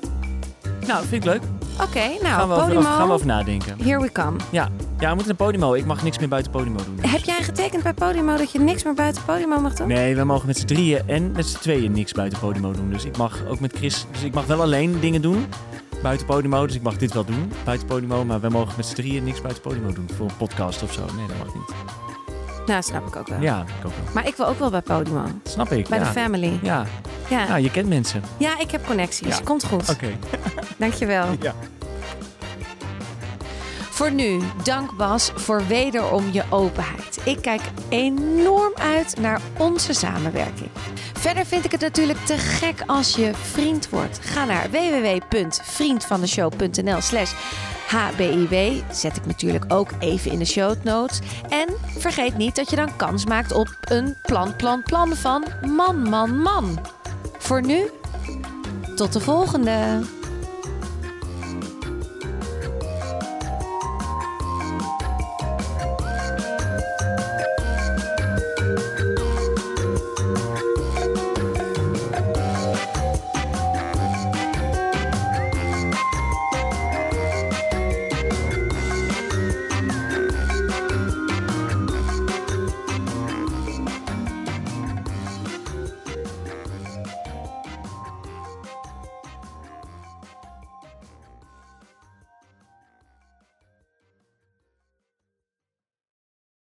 Nou, vind ik leuk.
Oké,
Gaan
nou,
we, over,
Podimo,
over- gaan we over nadenken.
here we come.
Ja. ja, we moeten naar Podimo. Ik mag niks meer buiten Podimo doen. dus.
Heb jij getekend bij Podimo dat je niks meer buiten Podimo mag doen?
Nee, we mogen met z'n drieën en met z'n tweeën niks buiten Podimo doen. Dus ik mag ook met Chris... Dus ik mag wel alleen dingen doen buiten Podimo. Dus ik mag dit wel doen buiten Podimo. Maar we mogen met z'n drieën niks buiten Podimo doen. Voor een podcast of zo. Nee, dat mag niet.
Nou, snap ik ook wel.
Ja, ik ook wel.
Maar ik wil ook wel bij Podimo.
Snap ik.
Bij
ja.
de family.
Ja.
Ja.
Nou, je kent mensen.
ja, ik heb connecties.
Ja.
Komt goed.
Oké.
Dankjewel.
Ja.
Voor nu, dank Bas voor wederom je openheid. Ik kijk enorm uit naar onze samenwerking. Verder vind ik het natuurlijk te gek als je vriend wordt. Ga naar www.vriendvandeshow.nl slash hbiw. Zet ik natuurlijk ook even in de show notes. En vergeet niet dat je dan kans maakt op een plan, plan, plan van man, man, man. Voor nu, tot de volgende!